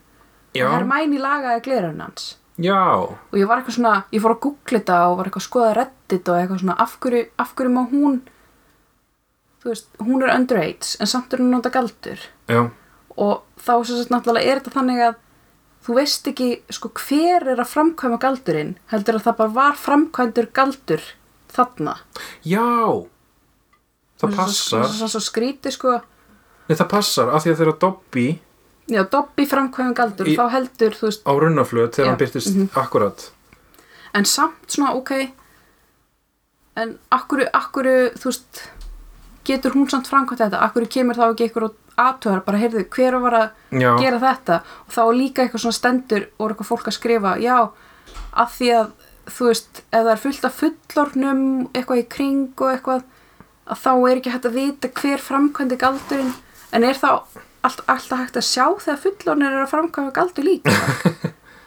S2: já,
S1: Hermæni lagaði glerugun hans
S2: já,
S1: og ég var eitthvað svona, ég fór að googla þetta og var eitthvað að skoða reddit og eitthvað svona af hverju, af hverju má hún þú veist, hún er underage en samt er hún nota galdur
S2: já,
S1: og þá sem sagt náttúrulega er þetta þannig að þú veist ekki sko hver er að framkvæma galdurinn heldur að það bara var framkvæmdur galdur þarna
S2: já Það
S1: svo,
S2: passar,
S1: svo, svo skríti sko
S2: nei það passar af því að þeirra Dobby
S1: já, Dobby framkvæmum galdur
S2: Í-
S1: þá heldur, þú veist,
S2: á runnaflöð þegar
S1: Já, Mhm.
S2: hann byrtist akkurat
S1: en samt svona ok en akkur, akkur þú veist getur hún samt framkvæmt þetta akkur kemur þá ekki ykkur og aðtöðar bara heyrðu hver var að
S2: Já.
S1: gera þetta og þá er líka eitthvað svona stendur og er eitthvað fólk að skrifa já að því að þú veist ef það er fullt af fullornum eitthvað í kring og eitthvað að þá er ekki hægt að vita hver framkvæmdi galdurinn en er þá allt, alltaf hægt að sjá
S2: <laughs>
S1: þegar fullornir eru að framkvæmda galdur líka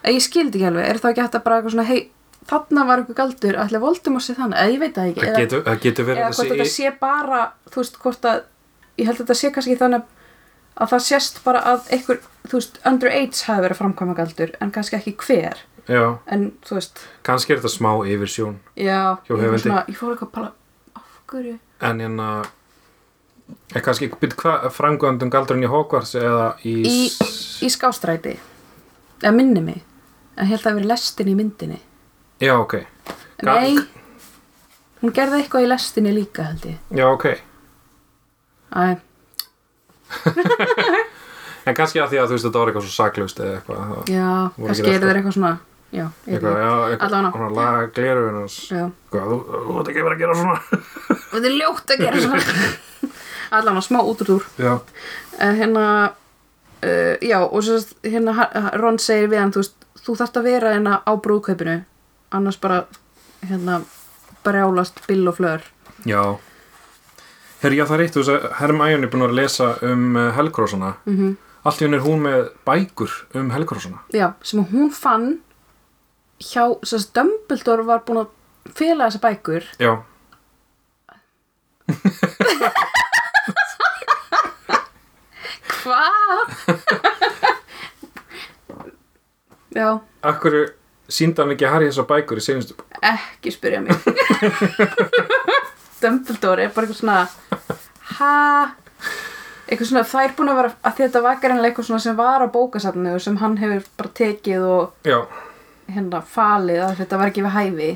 S1: Ég skildi ekki alveg, er það ekki hægt að bara eitthvað svona hei, þarna var eitthvað galdur ætli Voldemort sé þannig, eða ég veit það ekki
S2: það
S1: eða,
S2: getur, það getur verið
S1: eða hvort þetta
S2: þessi
S1: sé bara þú veist, hvort að ég held að þetta sé kannski þannig að það sést bara að einhver, þú veist, underage hafi verið framkvæma galdur, en kannski ekki hver
S2: já,
S1: en þú veist,
S2: kannski er þetta smá yfirsjón
S1: já
S2: Hjá
S1: ég var
S2: höfundi.
S1: svona- ég fór eitthvað bara, af hverju
S2: en hérna er kannski byrð hvað framgöndum galdurinn í Hogwarts eða í,
S1: Í-
S2: s-
S1: í skástræti eða minni mig, en ég held að það hafi verið lestin í myndinni
S2: já ok Gal-
S1: Nei, hún gerði eitthvað í lestinni líka held ég
S2: já ok
S1: Æ,
S2: en kannski að því að þú veist þetta var eitthvað svo saklaust eða eitthvað það-
S1: já,
S2: Voru
S1: kannski
S2: ekki
S1: eru þeir eitthvað svona Já, ég veit
S2: eitthvað,
S1: ekki.
S2: já, eitthvað,
S1: Allavega.
S2: svona laga glerun hans
S1: já
S2: hvað, þú, þú ert ekki verið að gera svona
S1: Þetta er ljótt að gera
S2: <laughs>
S1: svona Allan var smá út úr úr
S2: já,
S1: En hérna uh, Já, og svo sagt, hérna Ha- Ron segir við hann, þú veist Þú þarft að vera hérna á brúðkaupinu Annars bara, hérna Brjálast bill og flör
S2: já herri, já það er eitt, þú veist að Hermione er búin að vera að lesa um eh, Helgrósana mm -hmm. allt í henni er hún með bækur um Helgrósana
S1: Já, sem að hún fann Hjá, svo að Dumbledore var búin að Fela þessa bækur
S2: já,
S1: Hvað? <laughs> Já,
S2: akkur síndi hann ekki Harry þessar bækur í seinustu bók?
S1: ekki spyrja mig <laughs> Dumbledore er bara eitthvað svona Ha? Eitthvað svona, það er búin að vera að því þetta var greinlega eitthvað svona sem var á bókasafninu sem hann hefur bara tekið og
S2: já,
S1: hérna falið að þetta var ekki við hæfi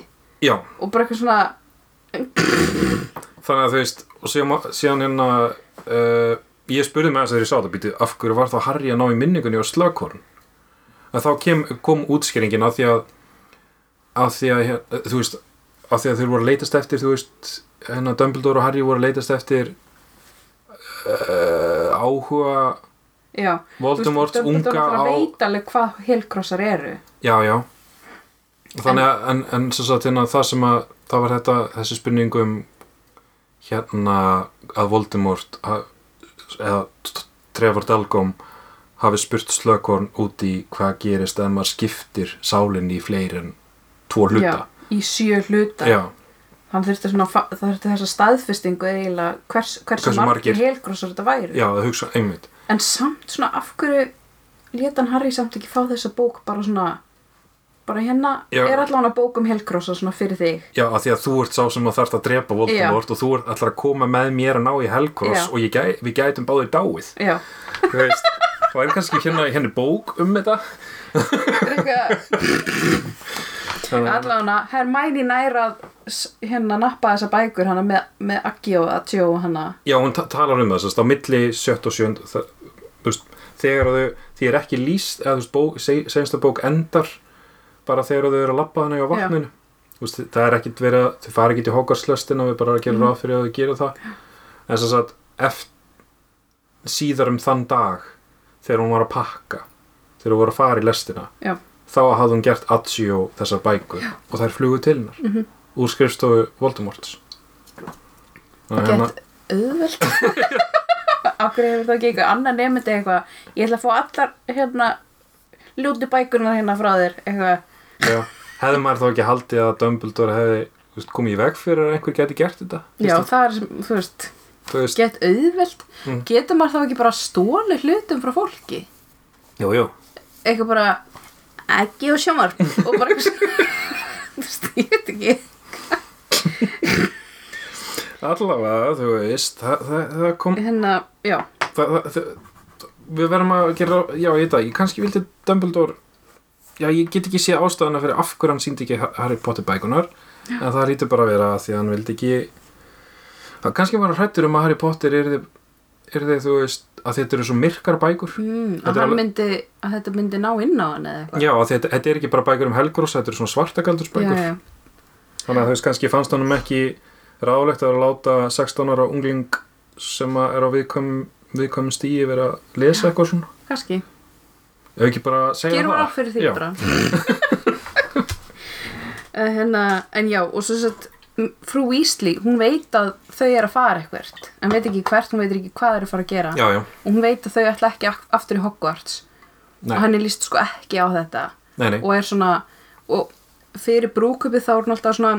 S2: já
S1: og bara eitthvað svona
S2: þannig að þú veist og síðan, síðan hérna uh, ég spurði með þess að þegar ég sá þetta býtu af hverju var þá Harry að ná í minningunni á slagkorn að þá kem, kom útskýringin að því að að því að hér- þú veist að því að þeir voru að leitast eftir þú veist hérna Dumbledore og Harry voru að leitast eftir uh, áhuga
S1: Já,
S2: Voldemorts
S1: Dumbledore
S2: unga
S1: er bara
S2: á
S1: að veit alveg hvað helkrossar eru
S2: já, já þannig að, en, en sem sagt hérna það sem að það var þetta, þessi spurning um hérna að Voldemort ha- eða t- Trevor Dalgóm hafi spurt Slökorn út í hvað gerist ef maður skiptir sálinni í fleiri en tvo hluta
S1: Já, í sjö hluta
S2: Já,
S1: hann þurfti svona, fa- það þurfti þessa staðfestingu eiginlega hvers, hversu,
S2: Hversu margir?
S1: margir helgrósar þetta væri
S2: já, það hugsa einmitt
S1: en samt svona af hverju leta hann Harry samt ekki fá þessa bók bara svona bara hérna
S2: Já.
S1: er allan að bók um helgrósar svona fyrir þig
S2: Já, af því að þú ert sá sem að þarft að drepa Voldemort og þú ert allar að koma með mér að ná í Helgros
S1: Já.
S2: og ég gæ, við gætum báðir dáið
S1: já,
S2: Þú veist, það er kannski hérna, hérna er bók um þetta
S1: allan
S2: Þannig að-
S1: að Hermæni næra hérna nappa þessa bækur hana með, með Aggi og Adjó hana
S2: Já, hún ta- talar um það, sérst, á milli 7 og 7 það, þú veist, þegar þau því er ekki lýst, eða þú veist, bók, seg, segjast bók endar bara þegar þau eru að labba þannig á vatninu Þú veist, það er ekkit verið að, þau fara ekki til hókarslöstina við bara að gera ráð fyrir að þau gera það en sem sagt, eft síðar um þann dag þegar hún var að pakka þegar hún var að fara í lestina
S1: Já.
S2: þá hafði hún gert atsjó þessar bækur Já. og þær flugu til hennar mm -hmm. úr skrifstofu Voldemorts Þannig að hérna-
S1: gett auðvöld <laughs> af hverju hefur það ekki eitthvað annar nefndi eitthvað ég ætla að fá allar hérna ljótu bækurnar hérna frá þér eitthvað
S2: Já, hefði maður þá ekki haldið að Dumbledore hefði þú veist, komið í veg fyrir að einhver geti gert þetta
S1: já
S2: Þú veist,
S1: það er sem, þú veist
S2: þú veist,
S1: gett auðvelt
S2: Mm.
S1: getur maður þá ekki bara stólu hlutum frá fólki
S2: jú, jú
S1: eitthvað bara ekki og sjómar og bara eitthvað svona- <laughs> þú veist, ég veit ekki
S2: allavega, þú veist það, það, það kom
S1: hérna, já,
S2: það, það, það, við verðum að gera, já, ég veit það, ég kannski vildi Dumbledore já, ég get ekki séð ástæðana fyrir af hverju hann síndi ekki Harry Potter bækunar en það lítur bara að vera að því að hann vildi ekki það kannski var hann hrættur um að Harry Potter er þið, er þið þú veist, að þetta eru svo myrkar bækur
S1: mm, að,
S2: Þetta er
S1: hann
S2: alveg-
S1: myndi, að þetta myndi ná inn á hann eða eitthvað
S2: Já, af því þetta, þetta er ekki bara bækur um Helgrós, þetta eru svona svartagaldursbækur
S1: Mm. já, já,
S2: Þannig að þú veist kannski fannst honum ekki ráðlegt að láta 16 ára ungling sem að er á viðkvæm, viðkvæm stíi vera að lesa eitthvað svona.
S1: kannski
S2: Ef ekki bara að segja
S1: gerum
S2: það.
S1: ráð fyrir því
S2: Já.
S1: bara <laughs> Eh, hérna, en já og svo sett frú Ísli, hún veit að þau er að fara eitthvert en veit ekki hvert, hún veit ekki hvað þau eru að fara að gera
S2: Já, já.
S1: og hún veit að þau ætla ekki ak- aftur í Hogwarts
S2: Nei,
S1: og henni líst sko ekki á þetta
S2: nei, nei.
S1: og er svona og fyrir brúkupið þá er hún alltaf svona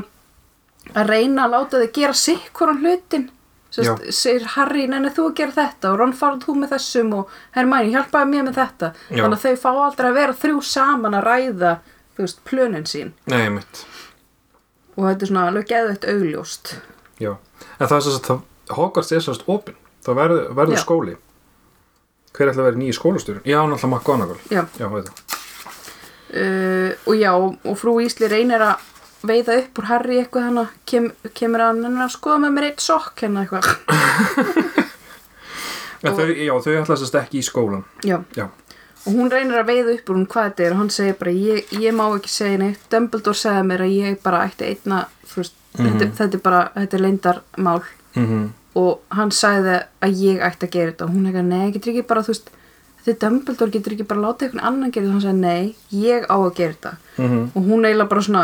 S1: að reyna að láta þið gera sikk hvoran hlutin Sest, segir Harry, nenni þú að gera þetta og Ron farað þú með þessum og Hermæni, hjálpaði mér með þetta
S2: Já.
S1: þannig að þau fá aldrei að vera þrjú saman að ræða þú veist, plönin sín
S2: Nei, mitt.
S1: og þetta er svona alveg geðveitt augljóst
S2: Já. En það er svo að Hogwarts er svo að opin. Það verður, verður
S1: Já.
S2: skóli. Hver ætla að vera nýju skólastjórun? Já, hann ætla að makka annað
S1: já.
S2: Já, veit það.
S1: Uh, og já, og frú Ísli reynir að veiða upp úr Harry eitthvað hana kem, kemur að hann að skoða með mér eitt sokk hérna eitthvað
S2: En
S1: Og-
S2: Þau, já, þau ætla sérst ekki í skólan.
S1: já.
S2: Já.
S1: og hún reynir að veiða upp úr hún hvað þetta er og hann segir bara ég, ég má ekki segja neitt Dumbledore segði mér að ég bara ætti einna þú veist, þetta, þetta er bara þetta er leyndarmál
S2: Mm
S1: og hann sagði að ég ætti að gera þetta og hún eitthvað nei, getur ekki bara þú veist þetta Dumbledore getur ekki bara að láta einhvern annan gera þetta og hann sagði nei, ég á að gera þetta
S2: Mhm.
S1: og hún eiginlega bara svona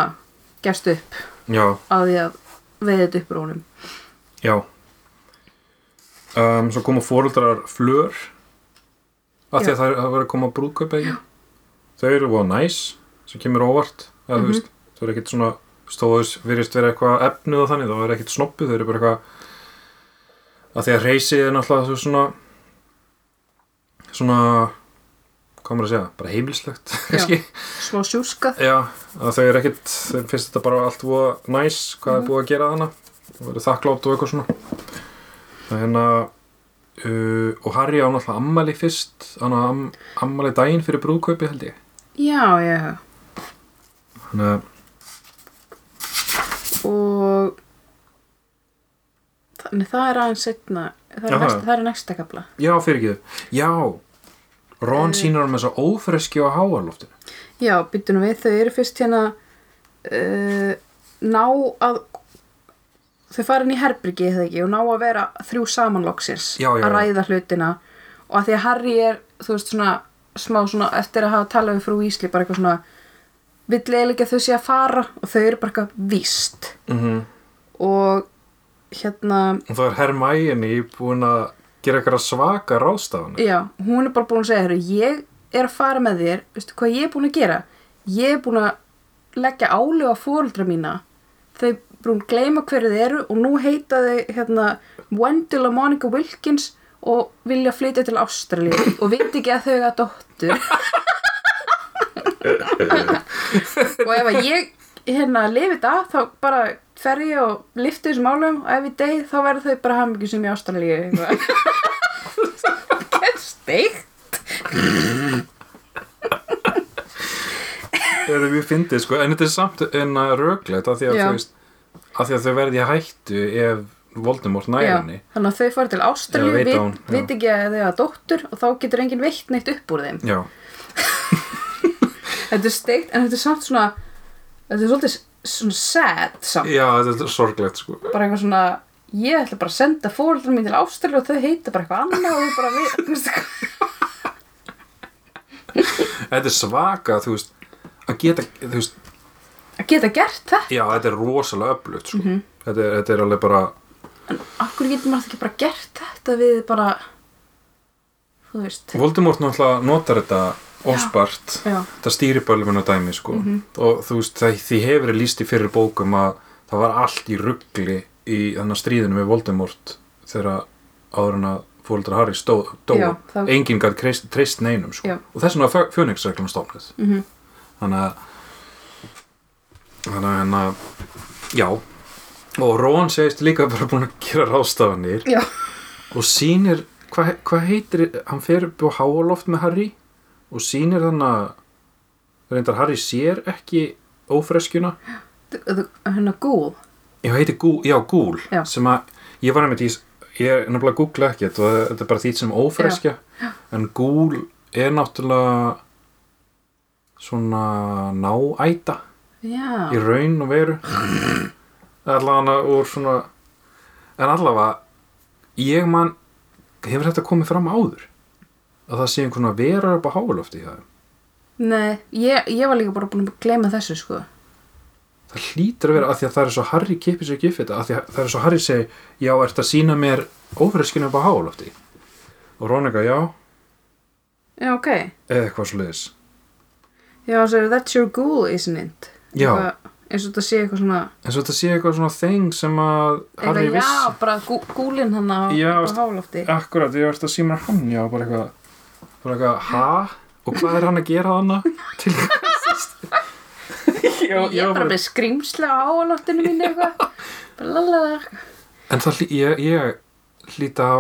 S1: gerst upp
S2: Já,
S1: að því að veiða þetta upp úr honum
S2: já. Um, svo koma fóruldrar flör. Af því
S1: Já.
S2: að það er að vera að koma brúðkaup eða ekki. Þau eru voða næs, sem kemur óvart. Eða, þú veist, þau eru ekkit svona, stóðus, virðist vera eitthvað efnuð og þannig, þá er ekkit snoppuð, þau eru bara eitthvað, af því að reysið er náttúrulega svo svona, svona, hvað maður að segja, bara heimilislegt, <laughs> kannski.
S1: smá sjúskað
S2: Já, að þau eru ekkit, þau finnst þetta bara allt voða næs, hvað er búið að gera þarna og verið þakklátt og eitthvað svona Það er hérna uh, og Harry á náttúrulega ammali fyrst hann á am, ammali daginn fyrir brúðkaupi held ég
S1: já, já,
S2: Þannig að,
S1: og þannig það er aðeins setna það er,
S2: Jaha.
S1: næsta, það er næsta kapla
S2: já, fyrir ekki já, Ron sýnur hann með þess að ófreski á háarloftinu
S1: já, byttunum við, þau eru fyrst hérna uh, ná að þau fara inn í herbyrgi eða ekki og ná að vera þrjú samanlóksins
S2: Já, já,
S1: að
S2: já.
S1: ræða hlutina og að því að Harry er þú veist svona smá svona eftir að hafa talað við frú Ísli bara eitthvað svona vill eiginlega ekki að þau sé að fara og þau eru bara eitthvað víst
S2: mm -hmm.
S1: og hérna
S2: og það er Hermæginni búin að gera eitthvað svaka ráðstafan
S1: Já, hún er bara búin að segja þér ég er að fara með þér, veistu hvað ég er búin að gera? Ég er búin að leggja álega á fóreldra mína þau búin að gleyma hverju þið eru og nú heita þau hérna Wendell og Monica Wilkins og vilja flytja til Ástralíu og veit ekki að þau eiga dóttur og ef að ég hérna lifi þetta af, þá bara fer ég og lifti þessum álum og ef ég deyð þá verður þau bara hamingjum sem í Ástralíu eitthvað <laughs> steikt
S2: þetta er mjög fyndið sko, en þetta er samt en að röglega af því að,
S1: Já.
S2: þú veist, af því að þau verði í hættu ef Voldemort næri
S1: Já,
S2: henni
S1: þannig að þau fara til Ástralíu
S2: Já, veit
S1: vit,
S2: hún, já.
S1: vit ekki að þau hafa dóttur og þá getur enginn veitt neitt upp úr þeim
S2: Já,
S1: þetta er steikt en þetta er samt svona þetta er svolítið s- svona sad samt
S2: já þetta er sorglegt sko
S1: bara eitthvað svona ég ætla bara að senda fóreldur mín til Ástralíu og þau heita bara eitthvað annað og þau bara við, þú veist,
S2: Þetta er svaka, þú veist að geta, þú veist,
S1: að geta gert þetta
S2: já þetta er rosalega öflugt sko.
S1: Mhm.
S2: þetta, er, þetta er alveg bara
S1: akkur getur maður ekki bara gert þetta við bara þú veist
S2: Voldemort náttúrulega notar þetta óspart,
S1: Já.
S2: þetta stýrir bölvun og dæmi sko,
S1: Mhm.
S2: og þú veist það, því hefur verið lýst í fyrir bókum að það var allt í ruggli í þannig stríðinu við Voldemort þegar áður en að fóldra Harry stó, dó,
S1: Já, það-
S2: enginn gætt treyst, treyst neinum sko,
S1: Já. Mhm.
S2: og þess vegna var fjöningsreglum stofnið -hmm. þannig að þannig að hérna, já og Rón segist líka bara búin að gera ráðstafanir
S1: já,
S2: og sýnir hvað hva heitir, hann fer upp á háaloft með Harry og sýnir þannig að reyndar Harry sér ekki ófreskjuna
S1: Þ- þ- hérna gúl
S2: já, heitir gúl, já, gúl
S1: Já.
S2: sem að, ég var einmitt í ég er nefnilega að googla ekkert og þetta er bara því sem ófreskja en gúl er náttúrulega svona náæta
S1: já,
S2: í raun og veru allavega úr svona en allavega ég man, hefur þetta komið fram áður að það sé einhvern veginn að vera upp á hálofti í það
S1: nei ég, ég var líka bara búin að gleyma þessu sko
S2: það hlýtur að vera að því að það er svo Harry kippir sér giffið þetta, að því að það er svo Harry segi já, ert að sína mér ófreskinu upp á hálofti og Rónika, já,
S1: já, ok
S2: eða eitthvað svo leiðis
S1: Já, það er that's your ghoul, isn't it?
S2: Já.
S1: Eitthvað, eins og þetta sé eitthvað svona
S2: eins og þetta sé eitthvað svona þeng sem að Harry
S1: eitthvað,
S2: vissi
S1: já, bara gú, gúlinn hann á,
S2: Já,
S1: á
S2: veist-
S1: hálofti
S2: Akkurat, ég varst að síma hann, já, bara eitthvað bara eitthvað, ha? Og hvað er hann að gera hana? <laughs> Til
S1: ég er
S2: Já, já,
S1: bara
S2: bara-
S1: með skrýmsla á háloftinu mínu
S2: <laughs>
S1: eitthvað bara lalala
S2: En það, hlý- ég, ég hlýta á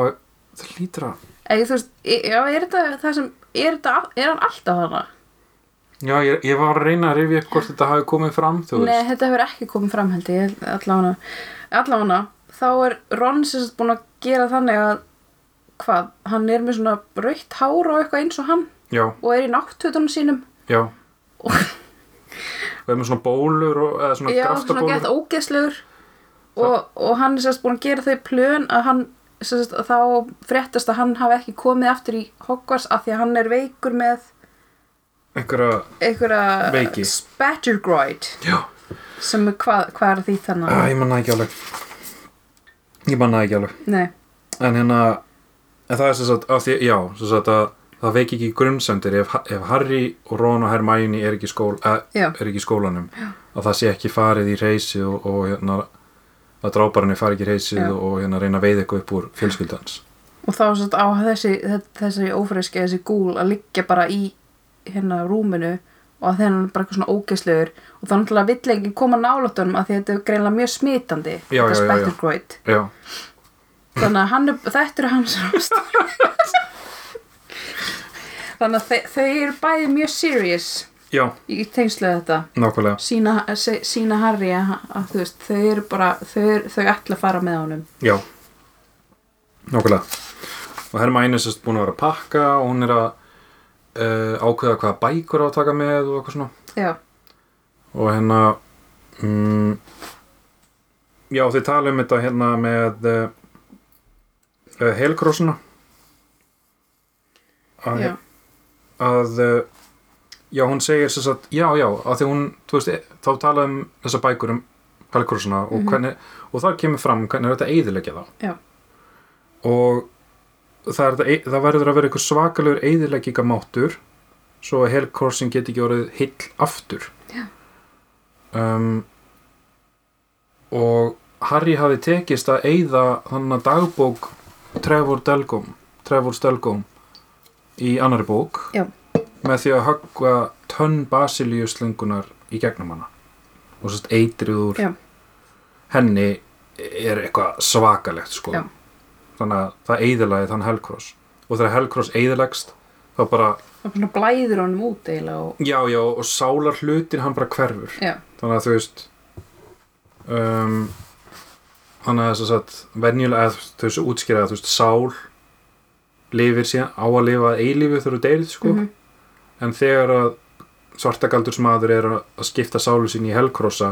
S2: það hlýtur að
S1: eða þú veist, e- já, er þetta það sem er, þetta, al- er hann alltaf þarna?
S2: Já, ég, ég var að reyna að rifja upp hvort þetta hafi komið fram, þú
S1: Nei,
S2: veist
S1: þetta hefur ekki komið fram held ég allavega, allavega þá er Ron sem sagt búin að gera þannig að hvað, hann er með svona rautt hár og eitthvað eins og hann
S2: Já,
S1: og er í náttfötunum sínum
S2: já Og er með svona bólur og, eða svona
S1: já, svona
S2: graftabólur
S1: gett ógeðslegur og, og hann er sérst búin að gera þau plön að hann sérst, að þá fréttast að hann hafi ekki komið aftur í Hogwarts af því að hann er veikur með
S2: Einhverja,
S1: einhverja
S2: Veiki.
S1: spattergroid
S2: já,
S1: sem er hvað, hvað er því þannig
S2: Æ, Ah, ég manna ekki alveg Ég manna ekki alveg
S1: nei,
S2: En hérna, en það er sem sagt, af því, já, sem sagt að það veik ekki grunnsendir ef, ef Harry og Ron og Hermione er ekki, í skól, eh,
S1: já,
S2: er ekki í skólanum að það sé ekki farið í reysi og, og hérna að dráparinni fari ekki í reysi
S1: Já.
S2: og, og hérna reyna að veiða eitthvað upp úr fjölskyldans
S1: og þá sérst á þessi þe- þessi ófreski, þessi gúl að liggja bara í hérna rúminu og að þennan er bara eitthvað svona ógeðslegur og þá náttúrulega vill enginn koma nálóttunum af því að þetta er greinlega mjög smitandi þetta
S2: Já, já, já, já.
S1: spattergroid
S2: Já,
S1: þannig að hann er, þetta eru hans ástæður þannig að þe þau eru bæði mjög serious
S2: já,
S1: í tengslu við þetta
S2: nákvæmlega
S1: sína, se- sína Harry að, að þú veist þau eru bara, þau, eru, þau ætla að fara með honum
S2: Já, nákvæmlega og Hermæni er sérst búin að vera að pakka og hún er að uh, ákveða hvaða bækur á að taka með og eitthvað svona
S1: já,
S2: og hérna mm, já þið tala um þetta hérna með uh, uh, helkrossuna að,
S1: já,
S2: að uh, já hún segir sem sagt já já að því hún þú veist, e- þá tala um þessa bækur um helkrossuna og,
S1: Mhm.
S2: hvernig, og þar kemur fram hvernig er þetta eyðilegja þá
S1: já,
S2: og það, er, þetta- það verður að vera eitthvað svakalegur eyðileggingamáttur svo að helkorsin geti ekki orðið heill aftur
S1: Já.
S2: um, og Harry hafi tekist að eyða þannig að dagbók Trevor Delgum Trevor Stelgum í annari bók
S1: Já.
S2: með því að höggva tönn basilíu slöngunar í gegnum hana og sérst eitrið úr
S1: Já.
S2: henni er eitthvað svakalegt sko
S1: Já.
S2: þannig að það eyðilagi þann Hellcross og þegar Hellcross eyðilegst þá bara,
S1: það er svona blæður honum út eiginlega og,
S2: já, já, og sálar hlutin hann bara hverfur,
S1: já,
S2: þannig að þú veist um, þannig að þess að venjulega að þú veist útskýra að þú veist sál lifir síðan á að lifa að eilífu þegar þú deyrið sko,
S1: mhm,
S2: en þegar að svartagaldursmaður er að- að skipta sálu sín í Hellcrossa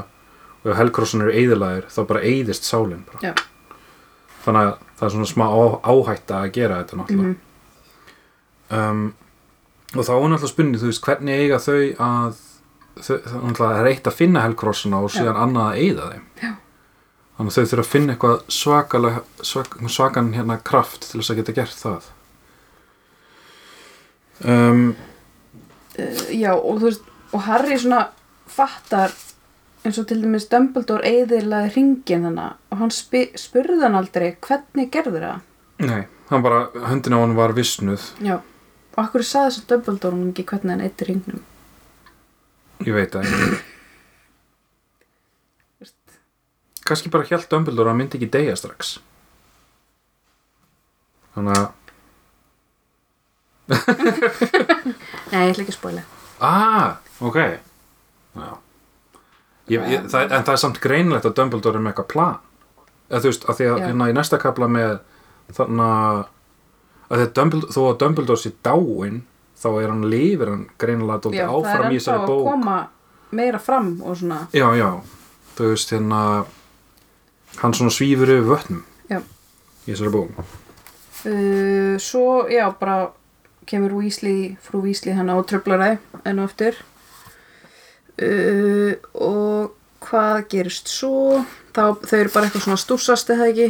S2: og ef Hellcrossan eru eyðilagir þá bara eyðist sálin bara.
S1: Já.
S2: þannig að það er svona smá á- áhætta að gera þetta náttúrulega
S1: mhm,
S2: um, og þá er náttúrulega spunnið þú veist hvernig eiga þau að þau, það er náttúrulega reitt að finna helgrósuna og síðan annað að eigða þeim
S1: Já.
S2: þannig að þau þurfa að finna eitthvað svakalega, svak, svakan hérna kraft til þess að geta gert það um,
S1: Eh, já og þú veist og Harry svona fattar eins og til dæmis Dumbledore eiðilega ringin hana og hann spi, spurði hann aldrei hvernig gerður það
S2: nei, hann bara höndin á hann var visnuð
S1: já, og akkur saði þess að Dumbledore hann ekki hvernig hann eitir ringnum
S2: ég veit að kannski bara hjælt Dumbledore að hann myndi ekki deyja strax þannig að
S1: nei, ég ætla ekki að spóla
S2: Ah, ok Já ég,
S1: Ah.
S2: ég, það, En það er samt greinlegt að Dumbledore er með eitthvað plan eða þú veist, að því að
S1: Já.
S2: hérna í næsta kapla með þannig að því að Dumbledore, þó að Dumbledore sé dáin þá er hann lifir hann greinilega dóldi
S1: já, það er
S2: áfram í
S1: ennþá
S2: þessari
S1: að
S2: bók
S1: koma meira fram og svona
S2: Já, já, þú veist hérna hann svona svífur yfir vötnum
S1: Já.
S2: í þessari bók
S1: uh, svo, já, bara kemur Weasley, frú Weasley hann á tröflaræ enn og aftur uh, og hvað gerist svo þá, þau eru bara eitthvað svona stúsast eða ekki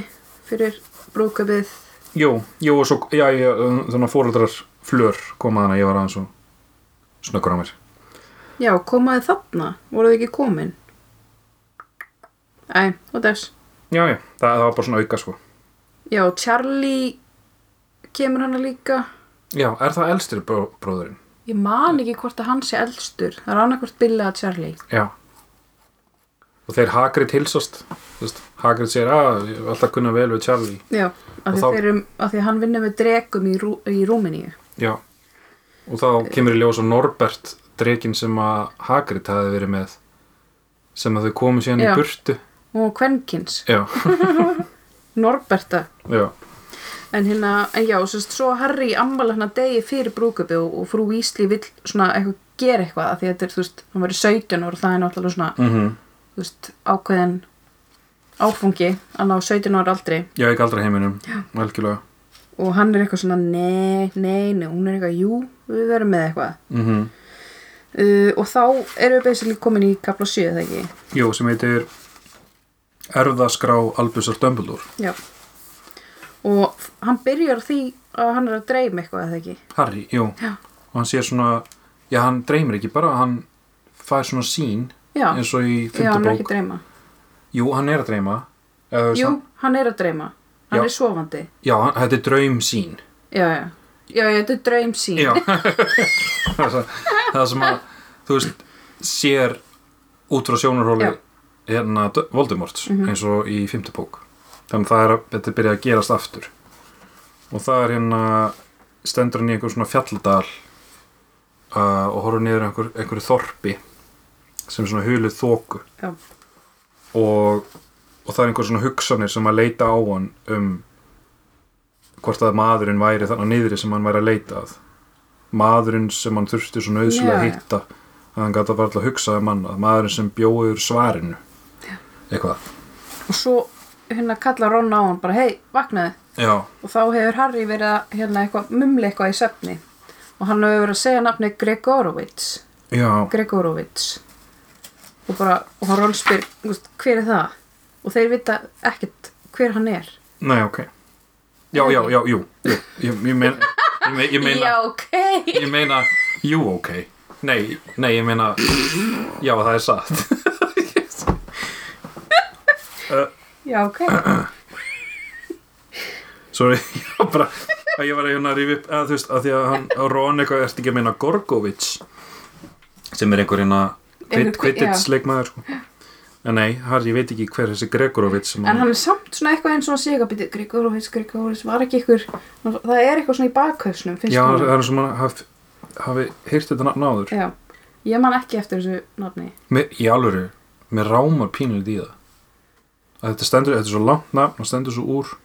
S1: fyrir brúkabið
S2: Jú, jú, og svo, já, já, þannig að fóreldrar flör koma þannig að ég var aðeins og snöggur á mér
S1: Já, komaði þarna, voruð þið ekki komin? Æ, og þess.
S2: Já, já, það, það var bara svona auka sko.
S1: Já, Charlie kemur hana líka.
S2: Já, er það elstir bró bróðurinn?
S1: Ég man ekki hvort að hann sé eldstur. Það er annarkvort Billy að Charlie.
S2: Já. Og þeir Hagrid hilsast, þú veist, Hagrid segir að ég hef alltaf kunna vel við Charlie.
S1: Já, af
S2: Og
S1: því,
S2: þá-
S1: þá... erum, af því að hann vinnur með dregum í, rú, í Rúmeníu.
S2: Já. Og þá kemur í ljós á Norbert, drekinn sem að Hagrid hafi verið með, sem að þau komu síðan
S1: Já.
S2: í burtu.
S1: Og Kvenkins,
S2: Já,
S1: Norberta.
S2: já,
S1: En hérna, en já, sérst, svo Harry ammala hann að degi fyrir brúkupi og, og frú Ísli vill svona eitthvað gera eitthvað af því að þetta er, þú veist, hann verið 17 ára og það er náttúrulega svona,
S2: mm
S1: þú veist, ákveðin áfungi að ná 17 ára aldri
S2: já, ekki aldrei heiminum, velkjulega.
S1: og hann er eitthvað svona, nei, nei, nei, hún er eitthvað, jú, við verum með eitthvað.
S2: Mm
S1: Uh, og þá erum við basically komin í kapla 7, það ekki?
S2: Jú, sem heitir Erfðaskrá Albusar Dumbledore,
S1: Já. Og f- hann byrjar á því að hann er að dreyma eitthvað, eða ekki?
S2: Harry, jú.
S1: Já.
S2: Og hann sér svona, já, hann dreymir ekki bara, hann fær svona sín
S1: Já,
S2: eins og í
S1: já hann er ekki
S2: fymtabók.
S1: að dreyma.
S2: Jú, hann er að dreyma. Eða,
S1: Jú,
S2: sam-
S1: hann er að dreyma. Hann
S2: Já.
S1: er sofandi.
S2: Já, hann, þetta er draum sín.
S1: Já, já. Já, já, þetta er draum sín. <laughs>
S2: Já Það sem- Það sem að þú veist, sér út frá sjónarhóli
S1: Já. Mhm.
S2: hérna D- Voldemorts eins og í fymta bók þannig að það er að þetta byrja að gerast aftur og það er hérna stendur hann í einhver svona fjalladal uh, og horfur niður einhver, einhverju þorpi sem er svona hulið þóku
S1: Já.
S2: og, og það er einhver svona hugsanir sem að leita á hann um hvort að maðurinn væri þannig niðri sem hann væri að leita að maðurinn sem hann þurfti svo nöðslega að
S1: Já, já.
S2: hitta að hann gæti að varla að hugsa um hann að maðurinn sem bjóður svarinu eitthvað
S1: Og svo hérna kallar Ron á hann bara, hei, vaknaði.
S2: já,
S1: Og þá hefur Harry verið að hérna eitthvað mumli eitthvað í söfni. Og hann hefur verið að segja nafni Gregorovits.
S2: já,
S1: Gregorovits. Og bara, og hann Ron spyr, þú veist, hver er það? Og þeir vita ekkert hver hann er.
S2: nei ok já, já, já, jú jú, ég, ég, mein, ég, mein, ég meina
S1: Já, ok.
S2: ég meina, jú ok nei, nei, ég meina já, það er satt
S1: Já, ok.
S2: Sorry, <laughs> ég var bara að ég var að hérna að rífi upp eða þú veist, að því að hann að Ron eitthvað ert ekki að meina Gorgovits sem er einhver hérna
S1: Einhver-
S2: Quidditch
S1: já.
S2: leikmaður sko en nei, Harry, ég veit ekki hver þessi Gregorovits sem
S1: En hann er samt svona eitthvað eins og hann sé eitthvað býtið Gregorovits, Gregorovits, var ekki ykkur það er eitthvað svona í bakhausnum finnst
S2: já,
S1: honum.
S2: það er sem hann haf, hafi heyrt þetta nafn áður
S1: Já, ég man ekki eftir þessu nafni.
S2: mér, í alvöru, mér rámar pínulegt í það að þetta stendur, þetta er svo langt nafn og stendur svo úr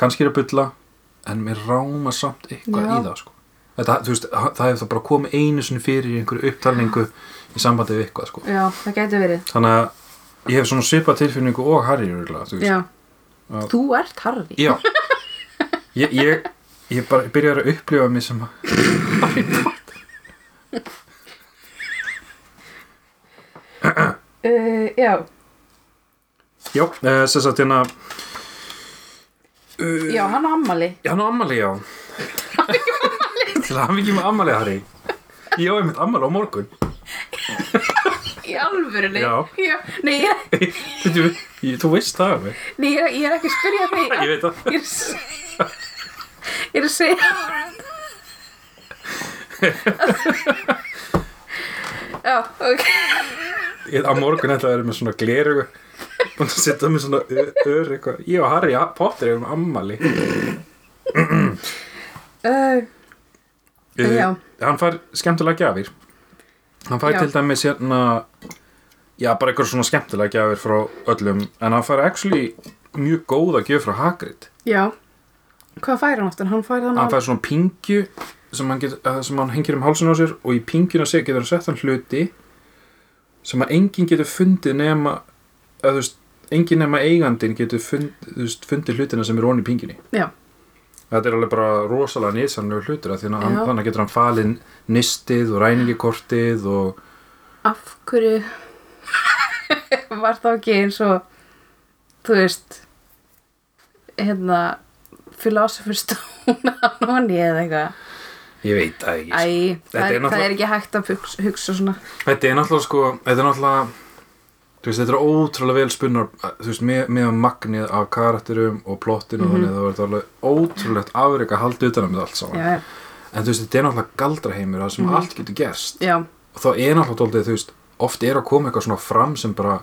S2: kannski er að bylla en mér rámar samt eitthvað
S1: Já.
S2: í það sko Þetta, þú veist, það hefur það bara komið einu sinni fyrir í einhverju upptalningu í sambandi við eitthvað sko.
S1: Já, það gæti verið.
S2: þannig að ég hef svona svipað tilfinningu og Harry örgulega, þú veist
S1: Já.
S2: Já.
S1: Þú ert Harry.
S2: Já. ég, ég, ég bara byrjar að upplifa mig sem að
S1: Uh, já,
S2: já, eh, sem sagt hérna
S1: já, hann á ammali.
S2: já, hann á ammali, já til að hann ekki með ammali, Harry ég á einmitt ammali á morgun
S1: Í alvörunni.
S2: Já.
S1: Nei, ég,
S2: þú, ég, þú veist það alveg.
S1: nei, ég, er- ég er ekki að spyrja því.
S2: ég veit það
S1: Ég er að s- ég er að segja. já, ok.
S2: ég, á morgun ætla að vera með svona gleru búin að setja með svona ö- ör eitthvað ég og Harry Potter erum ammali
S1: Uh,
S2: Eh,
S1: Já.
S2: hann fær skemmtilega gjafir hann fær
S1: Já.
S2: til dæmis hérna já, bara eitthvað svona skemmtilega gjafir frá öllum, en hann fær actually mjög góða gjöf frá Hagrid
S1: já. Hvað fær hann aftur? Hann fær þannig
S2: hann fær svona pingju sem hann, get, eh, sem hann hengir um hálsun á sér og í pingjuna sér getur hann sett hann hluti sem að enginn getur fundið nema eða, þú veist, enginn nema eigandinn getur fund, þú veist, fundið hlutina sem er onni í pingjunni
S1: Já, þetta
S2: Þetta er alveg bara rosalega nýðsanlega hlutur af því að hann,
S1: Já.
S2: þannig getur hann falin nistið og ræningikortið og
S1: af hverju <laughs> var það ekki eins og þú veist <laughs> hérna Philosopher's Stone á nonni eða eitthvað
S2: ég veit það ekki sko.
S1: Æ, það
S2: Þetta er
S1: er, það
S2: náttúrulega-
S1: er ekki hægt að hugsa, hugsa svona
S2: þetta er náttúrulega sko þetta er náttúrulega þú veist, þetta er ótrúlega vel spunnar þú veist, með, með magnið af karakterum og plottinu mm
S1: Mhm.
S2: þannig það var þetta alveg ótrúlegt afreik að halda utan um þetta allt saman
S1: Já, já,
S2: en þú veist, þetta er náttúrulega galdraheimur það sem
S1: Mhm.
S2: allt getur gerst
S1: já,
S2: og þá er náttúrulega dóldið, þú veist, oft er að koma eitthvað svona fram sem bara,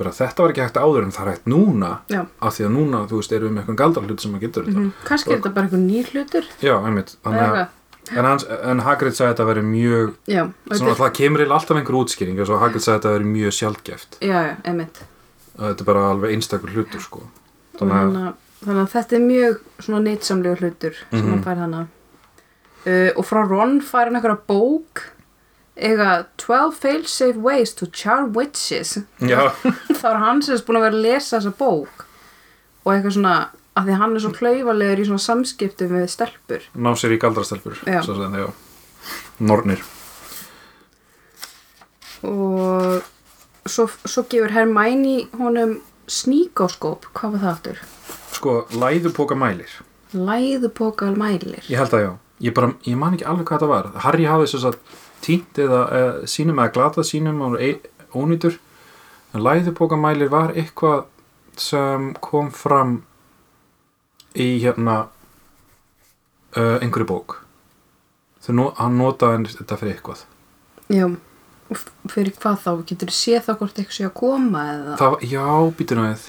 S2: bara þetta var ekki hægt áður en það er hægt núna
S1: já.
S2: af því að núna, þú veist, erum við með eitthvað galdrahlut sem maður getur þetta
S1: Mm Kannski er þetta bara einhver nýr hlutur
S2: já, einmitt, þannig að
S1: Eða eitthvað.
S2: en, hans, en Hagrid sagði að þetta veri mjög
S1: Já, og
S2: svona,
S1: þetta er
S2: það kemur eiginlega alltaf einhver útskýring og Hagrid sagði að þetta veri mjög sjaldgæft
S1: Já, já, emitt
S2: að þetta er bara alveg einstakur hlutur sko. þannig
S1: þannig
S2: að
S1: að, hérna, þannig að þetta er mjög svona nýtsamlega hlutur sem
S2: Mhm.
S1: hann fær hana uh, og frá Ron fær hann einhverja bók eiga 12 failsafe ways to charm witches <laughs>
S2: já,
S1: þá er hann sem er búin að vera að lesa þessa bók og eitthvað svona að því hann er svo klaufalegur í svona samskiptum við stelpur
S2: ná sér í galdrastelpur
S1: Já.
S2: svo sem það, já nornir
S1: og svo, svo gefur Hermæni honum sníkáskóp, hvað var það aftur?
S2: sko, læðupoka mælir
S1: Læðupokal mælir
S2: ég held að já, ég, bara, ég man ekki alveg hvað það var Harry hafði þess að tínt eða e, sínum eða glata sínum og e, ónýtur en læðupoka mælir var eitthvað sem kom fram í hérna uh, einhverju bók þau nú, hann notaði þetta fyrir eitthvað
S1: Já, og f- fyrir hvað þá? Getur þú séð þá hvort eitthvað sé að koma eða?
S2: það, var- já, býtur náðið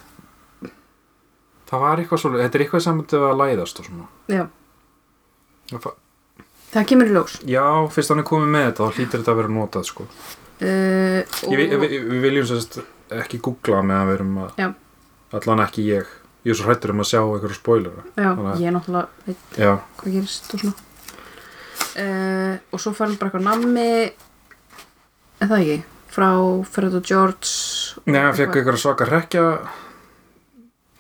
S2: það var eitthvað svolítið þetta er eitthvað sem þetta var að læðast og svona
S1: Já,
S2: Það fa-
S1: það kemur í ljós.
S2: já, fyrst hann er komið með þetta þá hlýtur þetta að vera notað sko
S1: Uh,
S2: Ég, vi-
S1: og,
S2: vi- við viljum sérst ekki googla meðan við erum að
S1: Já.
S2: allan ekki ég ég er svo hrættur um að sjá einhverju spoilera
S1: já,
S2: þannig að-
S1: ég náttúrulega veit
S2: já,
S1: hvað gerist og svona. Uh, og svo færum bara eitthvað nammi, eða ekki, frá Fred og George.
S2: neða, hann fekk einhverja svaka rekja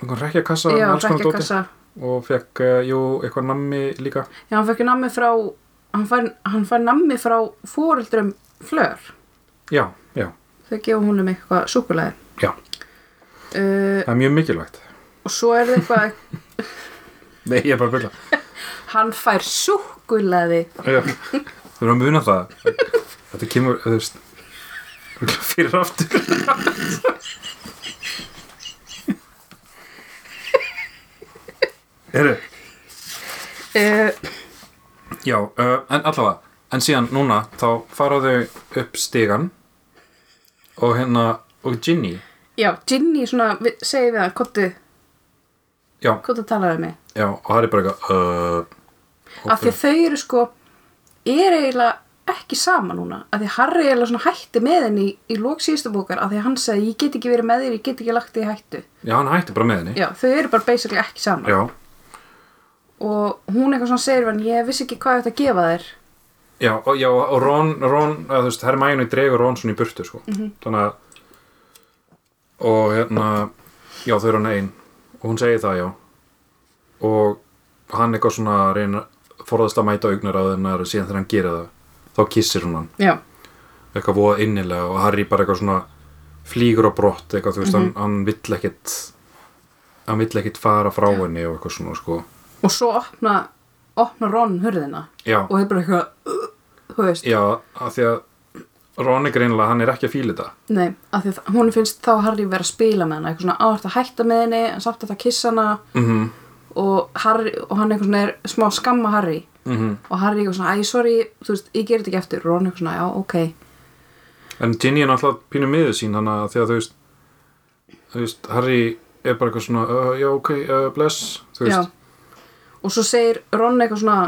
S2: einhverja rekjakassa
S1: Já,
S2: með alls konar dóti.
S1: rekjakassa.
S2: og fekk, uh, jú, eitthvað nammi líka
S1: Já, hann fekk nammi frá, hann fær, hann fær nammi frá fóreldrum flör.
S2: já, já,
S1: Þau gefa húnum eitthvað súkulæði.
S2: Já.
S1: Uh,
S2: það er mjög mikilvægt
S1: og svo er það eitthvað,
S2: nei, ég er bara að byrja
S1: hann fær súkulæði
S2: þú erum að muna það þetta kemur, þú veist örugglega fyrir aftur Heru,
S1: Uh,
S2: já, uh, en allavega en síðan núna, þá fara þau upp stigan og hérna, og Ginny
S1: já, Ginny svona, við, segir við hann, kottu,
S2: já,
S1: kottu að tala við mig.
S2: já, og það er bara eitthvað uh,
S1: Af því að þau eru sko, er eiginlega ekki sama núna. Af því að Harry eiginlega svona hætti með henni í, í lók síðustu bókar. Af því að hann sagði, ég get ekki verið með þér, ég get ekki lagt þig í hættu.
S2: já, hann hætti bara með henni
S1: Já, þau eru bara basically ekki sama.
S2: já,
S1: Og hún eitthvað svona segir við hann, ég vissi ekki hvað ég ætti að gefa þér.
S2: Já, og, já, og Ron, Ron að, þú veist, Hermæni dregur Ron svona í burtu, sko. Þannig að, og hérna, já, þau eru hann einn. Og hún segir það, já. Og hann eitthvað svona reyna, forðast að mæta augnar á þennar síðan þegar hann gerir það. Þá kissir hún hann,
S1: Já,
S2: eitthvað voða innilega og Harry bara eitthvað svona flýgur á brott, eitthvað, þú veist, hann, hann vill ekkit, hann vill ekkit fara frá henni og eitthvað svona, sko.
S1: og svo opna, opna Ron hurðina.
S2: Já,
S1: Og hefur bara eitthvað, uh, þú veist,
S2: já, af því að Ron er greinilega, hann er ekki að fíla þetta.
S1: nei. Af því að hún finnst þá Harry vera að spila með hana. Eitthvað svona, á, ertu að hætta með henni, en samt að það kissa hana.
S2: Mm -hmm.
S1: og, Harry, og hann eitthvað svona er smá að skamma Harry
S2: Mhm.
S1: og Harry eitthvað svona, æ, sorry, þú veist, ég ger þetta ekki eftir Ron eitthvað svona, já, ok
S2: En Ginny er náttúrulega pínu miður sín hann að því að þú veist, þú veist, Harry er bara eitthvað svona, uh, já, ok, uh, bless, þú
S1: já.
S2: veist,
S1: og svo segir Ron eitthvað svona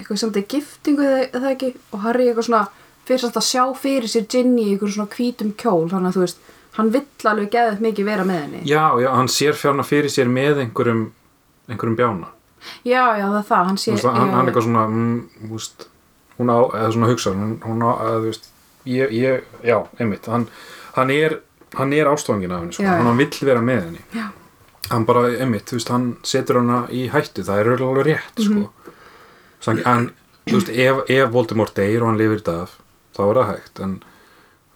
S1: eitthvað sem þetta er giftingu eða eða það ekki og Harry eitthvað svona fyrir samt að sjá fyrir sér Ginny í eitthvað svona hvítum kjól þannig að þú veist, hann vill alveg geðið mikið vera með henni
S2: já, já, hann sér fjárna fyrir sér með einhverjum, einhverjum bjána.
S1: já, já, það er það, hann sé
S2: Þú veist, hann,
S1: já,
S2: hann er eitthvað svona, mm, þú veist, hún á, eða svona hugsa, hún, hún á, eða, þú veist, ég, ég, já, einmitt, hann, hann er, hann er ástofangin af henni, sko,
S1: Já, já.
S2: hann, hann vill vera með henni.
S1: Já.
S2: Hann bara, einmitt, þú veist, hann setur hana í hættu, það er örugglega alveg rétt, sko. Mm hann, hann, þú veist, ef, ef Voldemort deyr og hann lifir þetta af, þá er það hægt, en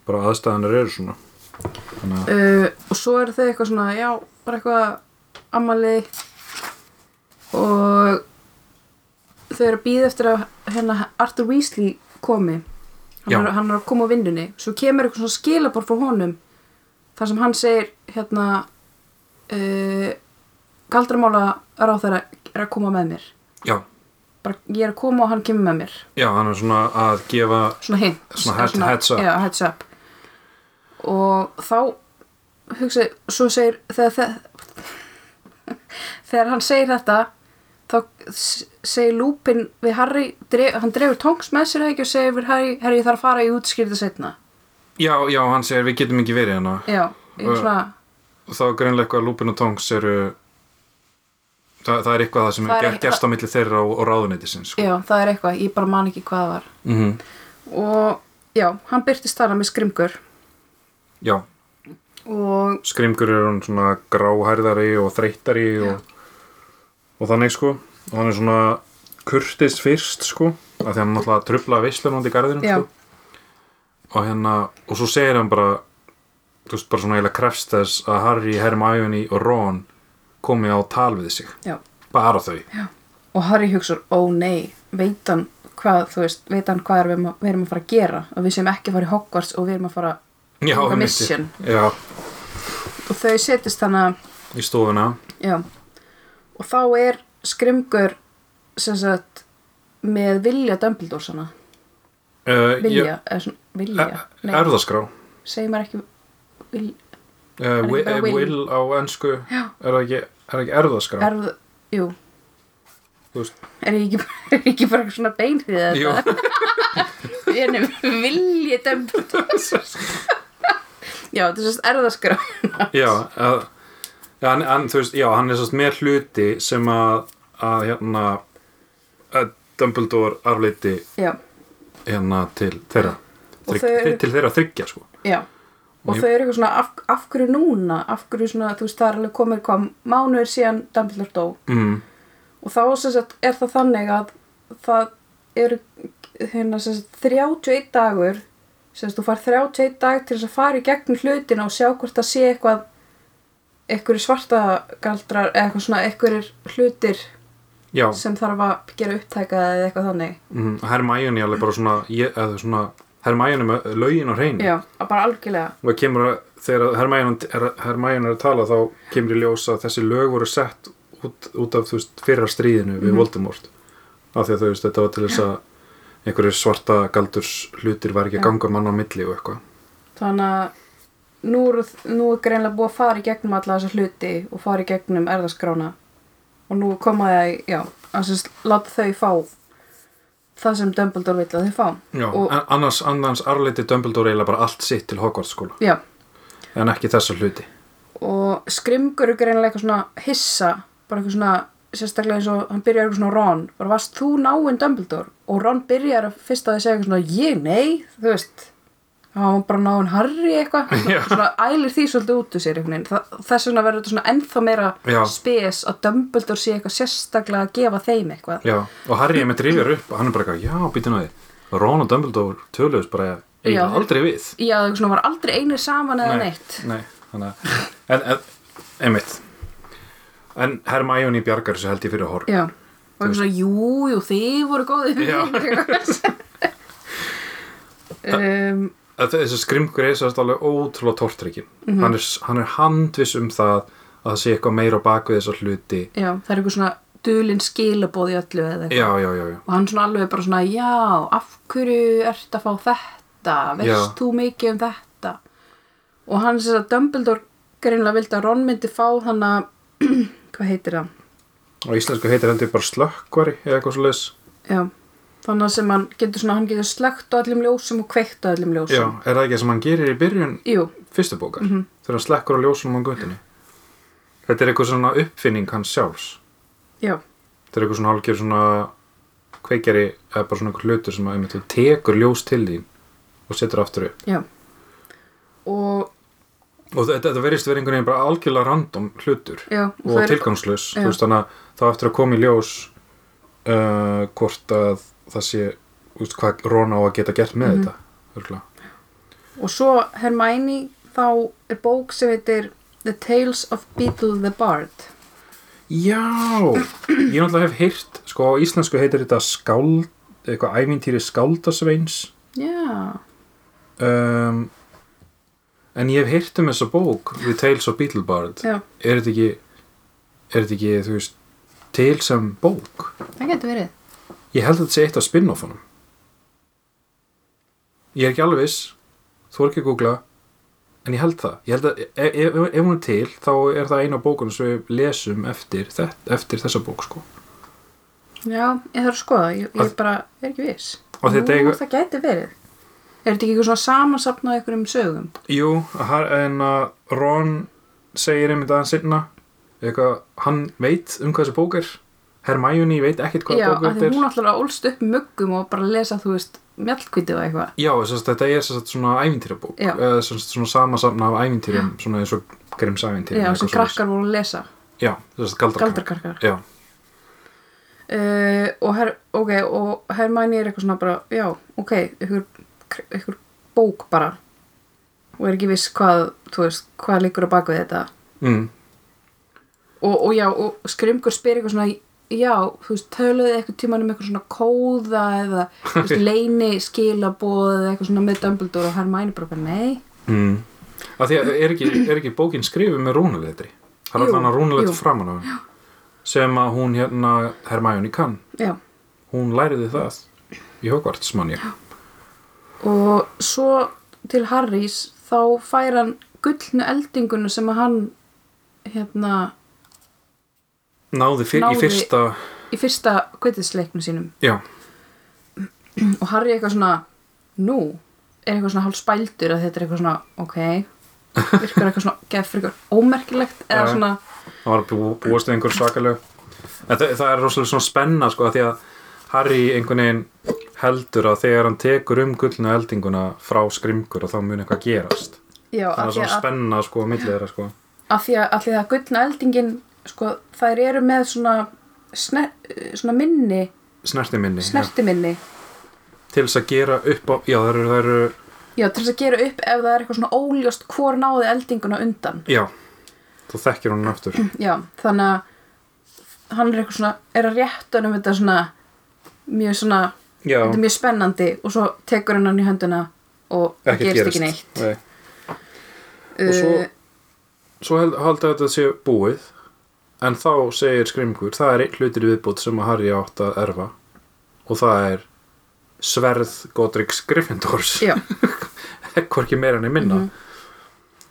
S2: bara aðstæðanir eru svona. Þannig að,
S1: uh, og svo eru þau eitthvað svona já, bara eitthvað ammali og þau eru að býða eftir að hérna, Arthur Weasley komi hann
S2: Já.
S1: er, hann er að koma á vinnunni svo kemur eitthvað svona skilabor frá honum þar sem hann segir hérna uh, galdramála ráþæra er að koma með mér
S2: já,
S1: bara ég er að koma og hann kemur með mér
S2: já, hann er svona að gefa
S1: svona hint
S2: Svona head- heads up.
S1: já, heads up og þá hugsa, svo segir þegar, þegar, þegar hann segir þetta þá s- segir Lúpin við Harry, dref, hann drefur tongs með sér eða ekki og segir við Harry, Harry ég þarf að fara í útskýrta setna
S2: já, já, hann segir við getum ekki verið hana
S1: já, ég
S2: Og-
S1: svona,
S2: og þá er greinlega eitthvað að Lupin og Tongs eru það, það er eitthvað það sem
S1: Það
S2: er
S1: er
S2: ger- gerst á milli þeirra og, og ráðuneytisins sko.
S1: já, það er eitthvað ég bara man ekki hvað það var
S2: mm
S1: og já, hann byrtist þarna með skrimgur
S2: já,
S1: og
S2: skrimgur er hann svona gráhærðari og þreytari og, og þannig sko og hann er svona kurtist fyrst sko af því hann náttúrulega trubla veislan út í garðinum
S1: já,
S2: sko og hérna og svo segir hann bara þú veist bara svona eiginlega krefst þess að Harry, Hermione og Ron komi á tal við sig
S1: já
S2: bara þau já,
S1: og Harry hugsar, ó nei veit hann hvað, þú veist, veit hann hvað er við, erum- við erum að fara að gera og við sem ekki að fara í Hogwarts og við erum að fara Það
S2: einmitt.
S1: mission.
S2: já,
S1: og þau setjast þannig að
S2: í stofuna
S1: já, og þá er skrimgur sem sagt með vilja Dumbledore svona
S2: uh,
S1: vilja, eða svona vilja nei,
S2: erðaskrá
S1: segi maður ekki vil,
S2: uh,
S1: ekki
S2: wi-
S1: bara
S2: eh,
S1: will?
S2: will á ennsku
S1: Já.
S2: er það ekki, er það ekki erðaskrá
S1: erð, jú
S2: þú veist,
S1: er ég ekki, bara- <laughs> er ég ekki bara eitthvað svona beinrið
S2: jú,
S1: þetta ég er <laughs> nefnir vilji Dumbledore <laughs> já, þetta er sérst erðaskrá
S2: já, að, já, hann, hann, þú veist, já, hann er sérst með hluti sem að, að hérna að Dumbledore afleiti
S1: já
S2: hérna til þeirra
S1: Og
S2: Þrygg,
S1: þau eru-
S2: til þeirra þryggja sko
S1: Já, og
S2: Ég-
S1: þau eru eitthvað svona af, af hverju núna, af hverju svona, þú veist, það er alveg komið kom mánuður síðan Dumbledore dó
S2: mm,
S1: og þá sem sagt, er það þannig að það eru hérna, sem sagt, 31 dagur sem sagt, þú far 31 dag til þess að fara í gegnum hlutina og sjá hvort það sé eitthvað einhverju svartagaldrar eða eitthvað svona einhverjir hlutir
S2: já,
S1: sem þarf að gera upptæka eða eitthvað þannig
S2: mm, Hermione alveg bara svona, ég, eða svona Hermione með lögin á hreinu
S1: Já, að bara algjörlega
S2: og það kemur að þegar Hermione, Her- Hermione er að tala þá kemur í ljós að þessi lög voru sett út, út af þú veist fyrra stríðinu
S1: Mhm.
S2: við Voldemort af því að þú veist þetta var til þess að einhverju svarta galdurs hlutir var ekki að
S1: Já.
S2: ganga mann á milli og eitthvað
S1: þannig að nú, eru- nú er greinlega búið að fara í gegnum alla þessa hluti og fara í gegnum erðaskrána og nú koma það, já, að sem sagt, láta þau fá það sem Dumbledore vill að þau fá
S2: Já,
S1: Og-
S2: en annars, annars arleiti Dumbledore eiginlega bara allt sitt til Hogwarts skóla
S1: já,
S2: en ekki þessa hluti
S1: og skrimgur er greinlega eitthvað svona hissa bara eitthvað svona, sérstaklega eins og hann byrjar eitthvað svona Ron, bara varst þú náinn Dumbledore og Ron byrjar að fyrst að þið segja eitthvað svona ég nei, þú veist hann var bara náinn Harry
S2: <laughs>
S1: eitthvað
S2: Já.
S1: svona ælir því svolítið út úr sér einhvern veginn Þa- þess vegna verður þetta svona ennþá meira
S2: Já.
S1: spes að Dumbledore sé eitthvað sérstaklega að gefa þeim eitthvað
S2: Já, og Harry er með drifjar upp og hann er bara eitthvað, já, býtum að því Ron og Dumbledore töluðust bara eiginlega
S1: Já.
S2: aldrei við
S1: já, það svona var aldrei einir saman eða neitt
S2: Nei, þannig að en, en, einmitt En Hermione bjargar þessu held ég fyrir horf
S1: já, og eitthvað svona jú, jú, þið voru góðið <laughs>
S2: Já. <laughs>
S1: um,
S2: að þessi skrimkur er sérst alveg ótrúlega tortrykkin
S1: Mhm.
S2: hann, er, hann er handviss um það að það sé eitthvað meira á baku þessar hluti
S1: Já, það er eitthvað svona dulinn skilabóð í öllu eða eitthvað.
S2: Já, já, já, já
S1: Og hann svona alveg bara svona, já, af hverju ert að fá þetta? Veist
S2: Já.
S1: þú mikið um þetta? Og hann sér að Dumbledore greinlega vildi að Ron myndi fá þann að, <clears throat> hvað heitir það?
S2: og íslensku heitir heldur bara slökkvari eða eitthvað svo leis
S1: Já, þannig að sem hann getur svona, hann getur slögt á öllum ljósum og kveikt á öllum
S2: Já,
S1: ljósum.
S2: er það ekki sem hann gerir í byrjun
S1: Jú,
S2: fyrstu bókar
S1: Mhm.
S2: þegar hann slekkur á ljósunum á göttinni Þetta er eitthvað svona uppfinning hans sjálfs
S1: já,
S2: Þetta er eitthvað svona hálfgjör svona kveikjari eða bara svona einhver hlutur sem að einmitt þú tekur ljós til þín og setur aftur upp
S1: já. Og,
S2: og þetta, þetta verðist verið einhvern veginn bara algjörlega random hlutur
S1: já,
S2: og
S1: það er-
S2: tilgangslaus
S1: Já.
S2: þú veist þannig að þá eftir að koma í ljós uh, hvort að það sé úst, hvað Ron á að geta gert
S1: Mhm.
S2: með þetta örgulega.
S1: Og svo Hermione, þá er bók sem heitir The Tales of Beetle the Bard.
S2: Já, ég náttúrulega hef heyrt sko á íslensku heitir þetta skáld eitthvað ævintýri skáldasveins
S1: Já,
S2: um, en ég hef heyrt um þessa bók við Tales of Beetlebard
S1: já,
S2: er þetta ekki er þetta ekki, þú veist, til sem bók
S1: það getur verið.
S2: ég held að þetta sé eitt af spin-offunum ég er ekki alveg viss þú er ekki að googla en ég held það, ég held að ef, ef, ef hún er til þá er það eina bókun sem við lesum eftir, þetta, eftir þessa bók sko
S1: Já, ég þarf að skoða, ég, ég
S2: Að-
S1: bara er ekki viss.
S2: Og þetta
S1: Nú,
S2: eigu-
S1: Það getur verið. Er þetta ekki eitthvað svona samansapnað einhverjum sögum?
S2: Jú, har- en að Ron segir einmitt aðeins sinna eitthvað, hann veit um hvað þessi bók er Hermione veit ekkert hvað
S1: já,
S2: bók
S1: af því
S2: þetta er
S1: hún ætlar að ólst upp muggum og bara lesa, þú veist, mjallkviti og eitthvað.
S2: Já, sérst, þetta er sérst, svona ævintýrabók
S1: Já.
S2: eða sérst, svona samansafna af ævintýrum svona eins og grims ævintýrum
S1: Já,
S2: eitthvað
S1: sem
S2: svoleiðis.
S1: krakkar voru að lesa.
S2: Já, sérst, galdrakark
S1: Galdrakarkar.
S2: Já,
S1: Uh, og, her, okay, og Hermæni er eitthvað svona bara, já, ok, ykkur, ykkur bók bara. Og er ekki viss hvað, þú veist, hvað liggur á bakvið þetta.
S2: mm,
S1: og, og já, og skrimgur spyr eitthvað svona já, þú veist, töluðu þið eitthvað tíman um eitthvað svona kóða eða þú
S2: <laughs>
S1: veist, leini skilaboð eða eitthvað svona með Dumbledore og Hermæni bara eitthvað, nei
S2: mm. Af því að er ekki, er ekki bókin skrifuð með rúnuletri Það er
S1: Jú,
S2: allan að
S1: jú.
S2: rúnuletri framan á henni sem að hún hérna Hermione kann,
S1: já,
S2: hún læriði það í Hogwarts mann ég
S1: og svo til Harrys þá fær hann gullnu eldinguna sem að hann hérna,
S2: náði, fyr,
S1: Náði-
S2: í fyrsta
S1: í fyrsta kvittisleiknum sínum
S2: já,
S1: og Harry eitthvað svona nú, er eitthvað svona hálf spældur að þetta er eitthvað svona, ok virkar eitthvað svona, geð fyrir ómerkilegt eða
S2: Já.
S1: svona,
S2: það var að bú, búast við einhver svakaleg en það, það er rosalega svona spenna sko, af því að Harry einhvern veginn heldur að þegar hann tekur um gullna eldinguna frá skrimkur og þá mun eitthvað gerast
S1: já, af
S2: það er
S1: því
S2: svona
S1: að
S2: spenna sko á milli þeirra sko
S1: af því að, af því að gullna eldingin sko, þær eru með svona, sner, svona minni
S2: snerti minni,
S1: snertiminni
S2: til þess að gera upp á, já það eru, það eru
S1: já, til þess að gera upp ef það er eitthvað svona óljóst hvor náði eldinguna undan
S2: já, þá þekkir hún hann aftur
S1: já, þannig að hann er eitthvað svona, er að rétta hann um þetta svona mjög svona
S2: já,
S1: þetta er mjög spennandi og svo tekur hann hann í hönduna og það
S2: ekkert
S1: gerist ekki neitt
S2: Nei. og svo
S1: Uh,
S2: svo held, held að þetta sé búið en þá segir skrimkur það er einn hlutir viðbútt sem að Harry átt að erfa og það er sverð Godrics Gryffindors
S1: já,
S2: <laughs>
S1: Mhm.
S2: hvorki meira enn í minna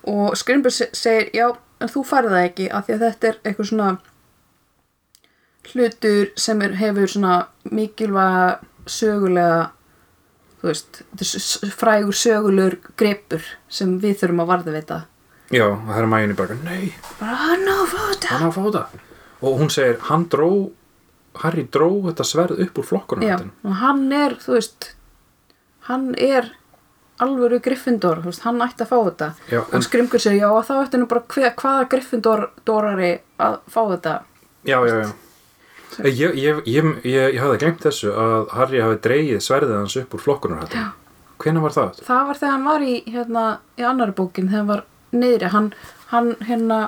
S1: og Skrimbur segir já, en þú farið það ekki af því að þetta er eitthvað svona hlutur sem er, hefur svona mikilvæga sögulega þú veist, þetta er s- s- frægur sögulegur grepur sem við þurfum að varða við þetta
S2: já, það er Mæjunni bara nei,
S1: bara hann á fóta
S2: hann á að fá það og hún segir, hann dró Harry dró þetta sverð upp úr flokkunum
S1: já, og hann er, þú veist hann er alvöru Gryffindor, þú veist, hann ætti að fá þetta
S2: Já, en-
S1: og Skrimgur segir já, þá ætti nú bara hver, hvaða Gryffindorari að fá þetta
S2: já, já, já. Ég, ég, ég, ég, ég, ég hafði glemt þessu að Harry hafi dreigið sverðið hans upp úr flokkunum hvenær var það? aftur?
S1: það var þegar hann var í, hérna, í annari bókin þegar hann var niðri hann, hann hérna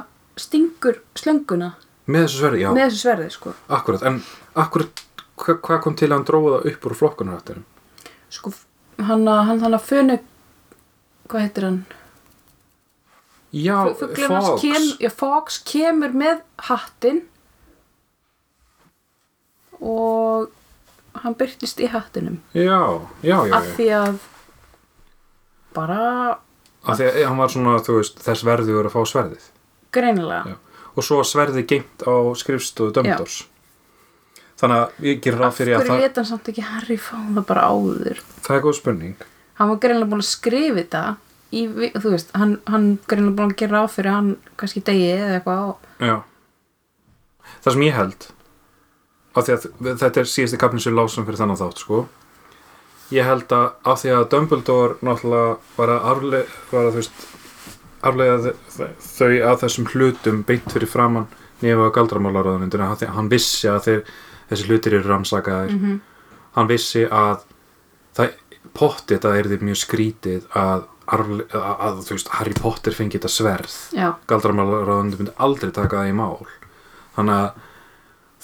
S1: stingur slönguna
S2: með þessu sverði, já
S1: með þessu sverði sko.
S2: Akkurat, en akkurat hva- hvað kom til að hann dróða upp úr flokkunarhættinum?
S1: sko hann að- hann þannig að fönu hvað heitir hann?
S2: Já,
S1: Fuglinn hans
S2: Fox.
S1: kem- já, Fox kemur með hattinn og hann byrtist í hattinum
S2: Já, já, já, já.
S1: af því að bara
S2: Af því að hann var svona, þú veist, þess verður að fá sverðið.
S1: greinilega
S2: Já. Og svo var sverðið geimt á skrifstofu Dömdors. Þannig að ég gerir ráð
S1: af
S2: fyrir að
S1: hverju
S2: það,
S1: leta hann samt ekki Harry fá það bara áður
S2: það er góð spurning.
S1: hann var greinlega búin að skrifa þetta í, vi- þú veist, hann, hann greinlega búin að gera ráð fyrir að hann kannski degi eða eitthvað og,
S2: Já. Það sem ég held, af því að þetta er síðasti kapnin sem við lásum fyrir þannig þátt, sko. Ég held að af því að Dumbledore náttúrulega var að arlega, var að, þú veist, aflega þau að þessum hlutum beint fyrir framann nefn á galdramálaráðunindina af því að hann vissi að þeir, þessi hlutir eru rannsakaðir
S1: Mhm.
S2: hann vissi að það, pottið það er mjög skrítið að, arfle, að, að þú veist, Harry Potter fengi þetta sverð
S1: já,
S2: galdramálaráðunindin myndi aldrei taka það í mál þannig að,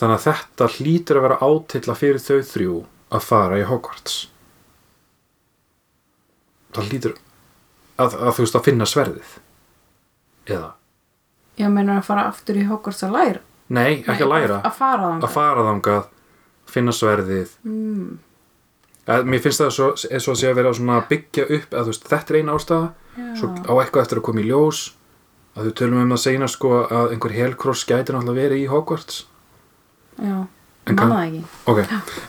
S2: þannig að þetta hlýtur að vera átilla fyrir þau þrjú að fara í Hogwarts það hlýtur að, að þú veist að finna sverðið eða,
S1: Já, meinar að fara aftur í Hogwarts að læra?
S2: nei, ekki
S1: Nei,
S2: að læra
S1: Að fara
S2: að
S1: þangað.
S2: fara þangað finna sverðið mm. að, mér finnst það svo, eins og að sé að vera svona að byggja upp að þú veist, þetta er eina ástæða
S1: Já.
S2: svo á eitthvað eftir að koma í ljós að þú tölum um það seina sko að einhver helkross gæti náttúrulega verið í Hogwarts
S1: Já,
S2: En
S1: manna
S2: kann-
S1: það ekki.
S2: ok,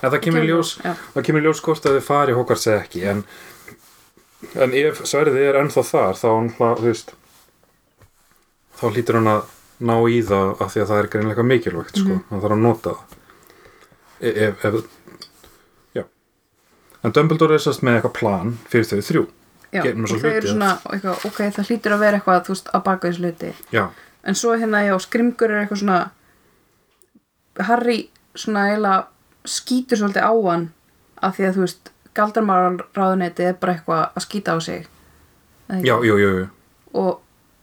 S2: en það kemur í ljós
S1: Já.
S2: það kemur í ljós hvort að þau fari í Hogwarts eða ekki en, en ef sverðið er ennþá þar þá hann þú veist þá hlýtur hann að ná í það af því að það er greinlega mikilvægt sko,
S1: Mhm.
S2: hann þarf að nota það E- ef, ef já en Dumbledore er sérst með eitthvað plan fyrir þau þrjú
S1: Já,
S2: Gerum þessa
S1: og þau eru
S2: hluti,
S1: svona, eitthvað, ok, það hlýtur að vera eitthvað, þú veist, að baka þessu hluti.
S2: já,
S1: En svo hérna, já, skrimgur er eitthvað svona, Harry svona eiginlega skýtur svolítið á hann af því að, þú veist, galdarmálarráðunetið er bara eitthvað að skýta á sig. Eða ekki?
S2: já, jú, jú, jú
S1: Og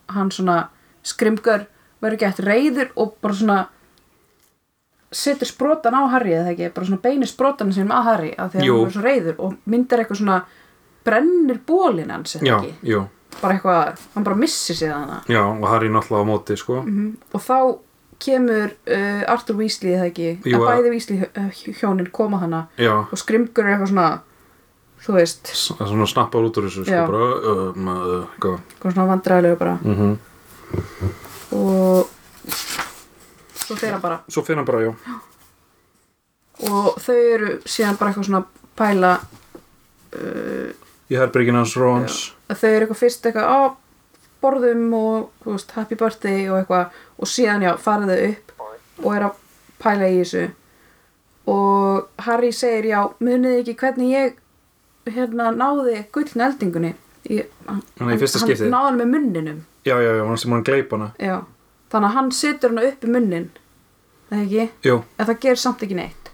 S1: hann svona, skrimgur verður gett reyður og bara svona setur sprotan á Harry eða ekki, bara svona beinir sprotan sem að Harry af því að
S2: Jú.
S1: hann verður svo reyður og myndar eitthvað svona brennir bólin hans eða
S2: já,
S1: ekki
S2: jú,
S1: bara eitthvað, hann bara missir sig þannig
S2: já, og Harry náttúrulega á móti sko,
S1: og þá kemur uh, Arthur Weasley eða ekki
S2: Jú,
S1: að
S2: að-
S1: bæði Weasley uh, hjónin koma hana
S2: já
S1: og skrimgur er eitthvað svona þú veist,
S2: S- svona snappar út úr þessu sko,
S1: Já.
S2: bara, um, uh, uh,
S1: eitthvað svona vandræðilega bara
S2: mm -hmm.
S1: og svo þeirra bara
S2: svo finna bara, já
S1: og þau eru síðan bara eitthvað svona að pæla
S2: í herbergin hans Rons
S1: að þau eru eitthvað fyrst eitthvað á borðum og þú veist, happy birthday og eitthvað og síðan já, fara þau upp og er að pæla í þessu og Harry segir já, munið þið ekki hvernig ég hérna náði gulln eldingunni ég, hann,
S2: Þannig í fyrsta skiptið?
S1: hann náði hann með munninum
S2: Já, já, já, hann sem hann gleip hana
S1: já. þannig að hann setur hann upp í munnin eða ekki,
S2: Jú,
S1: en það gerir samt ekki neitt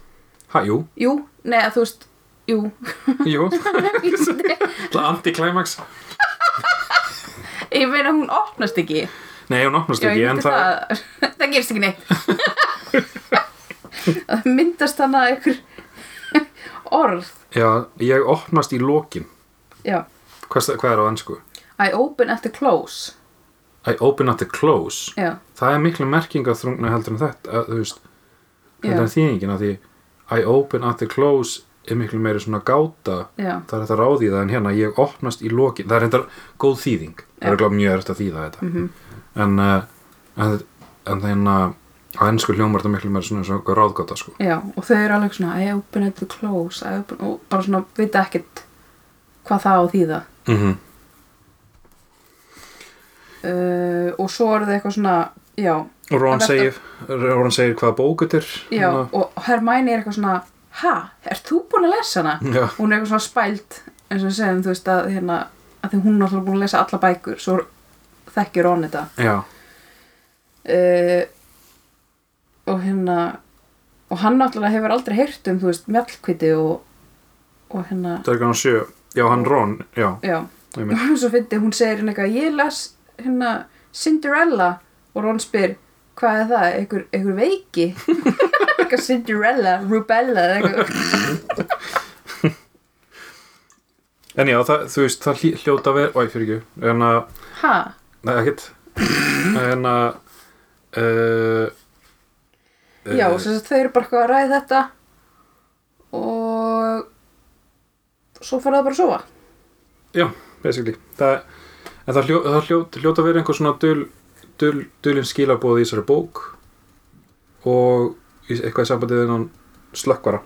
S2: ha, jú,
S1: <laughs> jú, nei að þú veist jú,
S2: jú
S1: ég
S2: Það anti-climax
S1: meina hún opnast ekki
S2: Nei, hún opnast
S1: Já,
S2: ekki,
S1: ég
S2: en
S1: myndi
S2: það
S1: það, það, <laughs> gerist ekki
S2: <laughs>
S1: neitt Það myndast þannig að einhver orð
S2: Já, ég opnast í lokin
S1: Já,
S2: Hvað, hvað er á ennsku?
S1: I open at the close
S2: I open at the close
S1: Já,
S2: Það er miklu merkinga þrungna heldur en þetta að, Þú veist,
S1: Já.
S2: heldur en þýðingin að því I open at the close er miklu meiri svona gáta
S1: já,
S2: Það er þetta ráðið það en hérna ég opnast í lokin Það er þetta góð þýðing Það
S1: Já. Mhm.
S2: er gláð mjög erft að þýða þetta En, uh, en, en þannig að á ennsku hljómar þetta miklu meiri svona, svona ráðgáta sko
S1: já Og þau eru alveg svona I open at the close I open, og bara svona vita ekkert hvað það á því það
S2: mm
S1: uh, Og svo eru þau eitthvað svona Já,
S2: og Ron
S1: En þetta-
S2: segir, Ron segir hvaða bókutir
S1: já
S2: Hérna.
S1: Og Hermæni er eitthvað svona Ha, ert þú búin að lesa hana?
S2: já,
S1: hún er eitthvað svona spælt eins og við segjum, þú veist að hérna að því hún er alltaf búin að lesa alla bækur svo þekkir hún þetta
S2: já,
S1: uh, og hérna og hann náttúrulega hefur aldrei heyrt um þú veist mjallkviti og og hérna,
S2: það er kannan sjö já, hann Ron, já,
S1: já
S2: einmitt
S1: <laughs> svo fyndi, hún segir hérna eitthvað ég las hérna Cinderella og Ron spyr hvað er það, einhver, einhver veiki <laughs> eitthvað Cinderella, Rubella eða eitthvað,
S2: en já, það, þú veist, það hlý- hljóta við oi, fyrir ekki, en að,
S1: ha
S2: nei, ekkert en eh, að uh,
S1: Já, sem sagt þau eru bara eitthvað að ræða þetta og svo fara það bara að sofa.
S2: já, basically það, en það, hljó, það hljó, hljóta verið einhver svona dul, dul, dulin skilabóð í þessari bók og í- eitthvað í sambandið innan slökkvara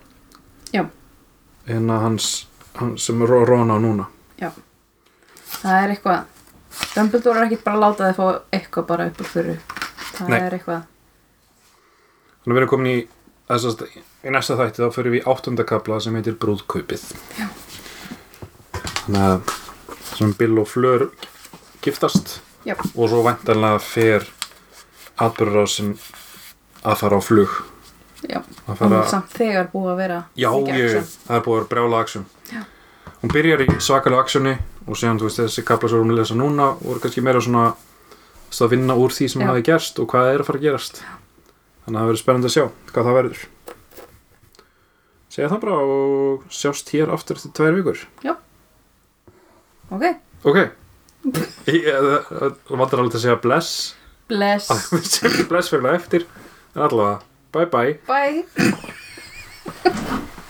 S1: Já.
S2: en að hans, hans sem Ro- Ron á núna
S1: Já. Það er eitthvað, Dumbledore er ekkit bara að láta þið fá eitthvað bara upp úr þurru. Það
S2: Nei.
S1: er eitthvað,
S2: Þannig að við erum komin í, þessast, í næsta þætti þá fyrir við í áttundakabla sem heitir Brúðkaupið.
S1: Já.
S2: Þannig að sem Bill og Fleur giftast
S1: já,
S2: og svo væntanlega fer atbyrðurásin að fara á flug.
S1: já.
S2: Að
S1: Hún
S2: fara,
S1: er samt þegar búið að vera.
S2: já,
S1: þykja
S2: ég,
S1: action.
S2: það er búið að vera brjála aksjón.
S1: Já.
S2: Hún byrjar í svakalega aksjóni og síðan, þú veist, þessi kabla sem við erum að lesa núna voru kannski meira svona þú veist, að vinna úr því sem
S1: Já.
S2: hafi gerst og hvað er að fara að gerast. Þannig að það verður spennandi að sjá hvað það verður. Segja það bara og sjást hér aftur eftir tvær vikur.
S1: Ok,
S2: Ok. eh, Ég- Það það vantar alveg til að segja bless. <laughs>
S1: bless, <laughs>
S2: Að Við segjum bless fyrir eftir. En allavega, bye bye.
S1: bye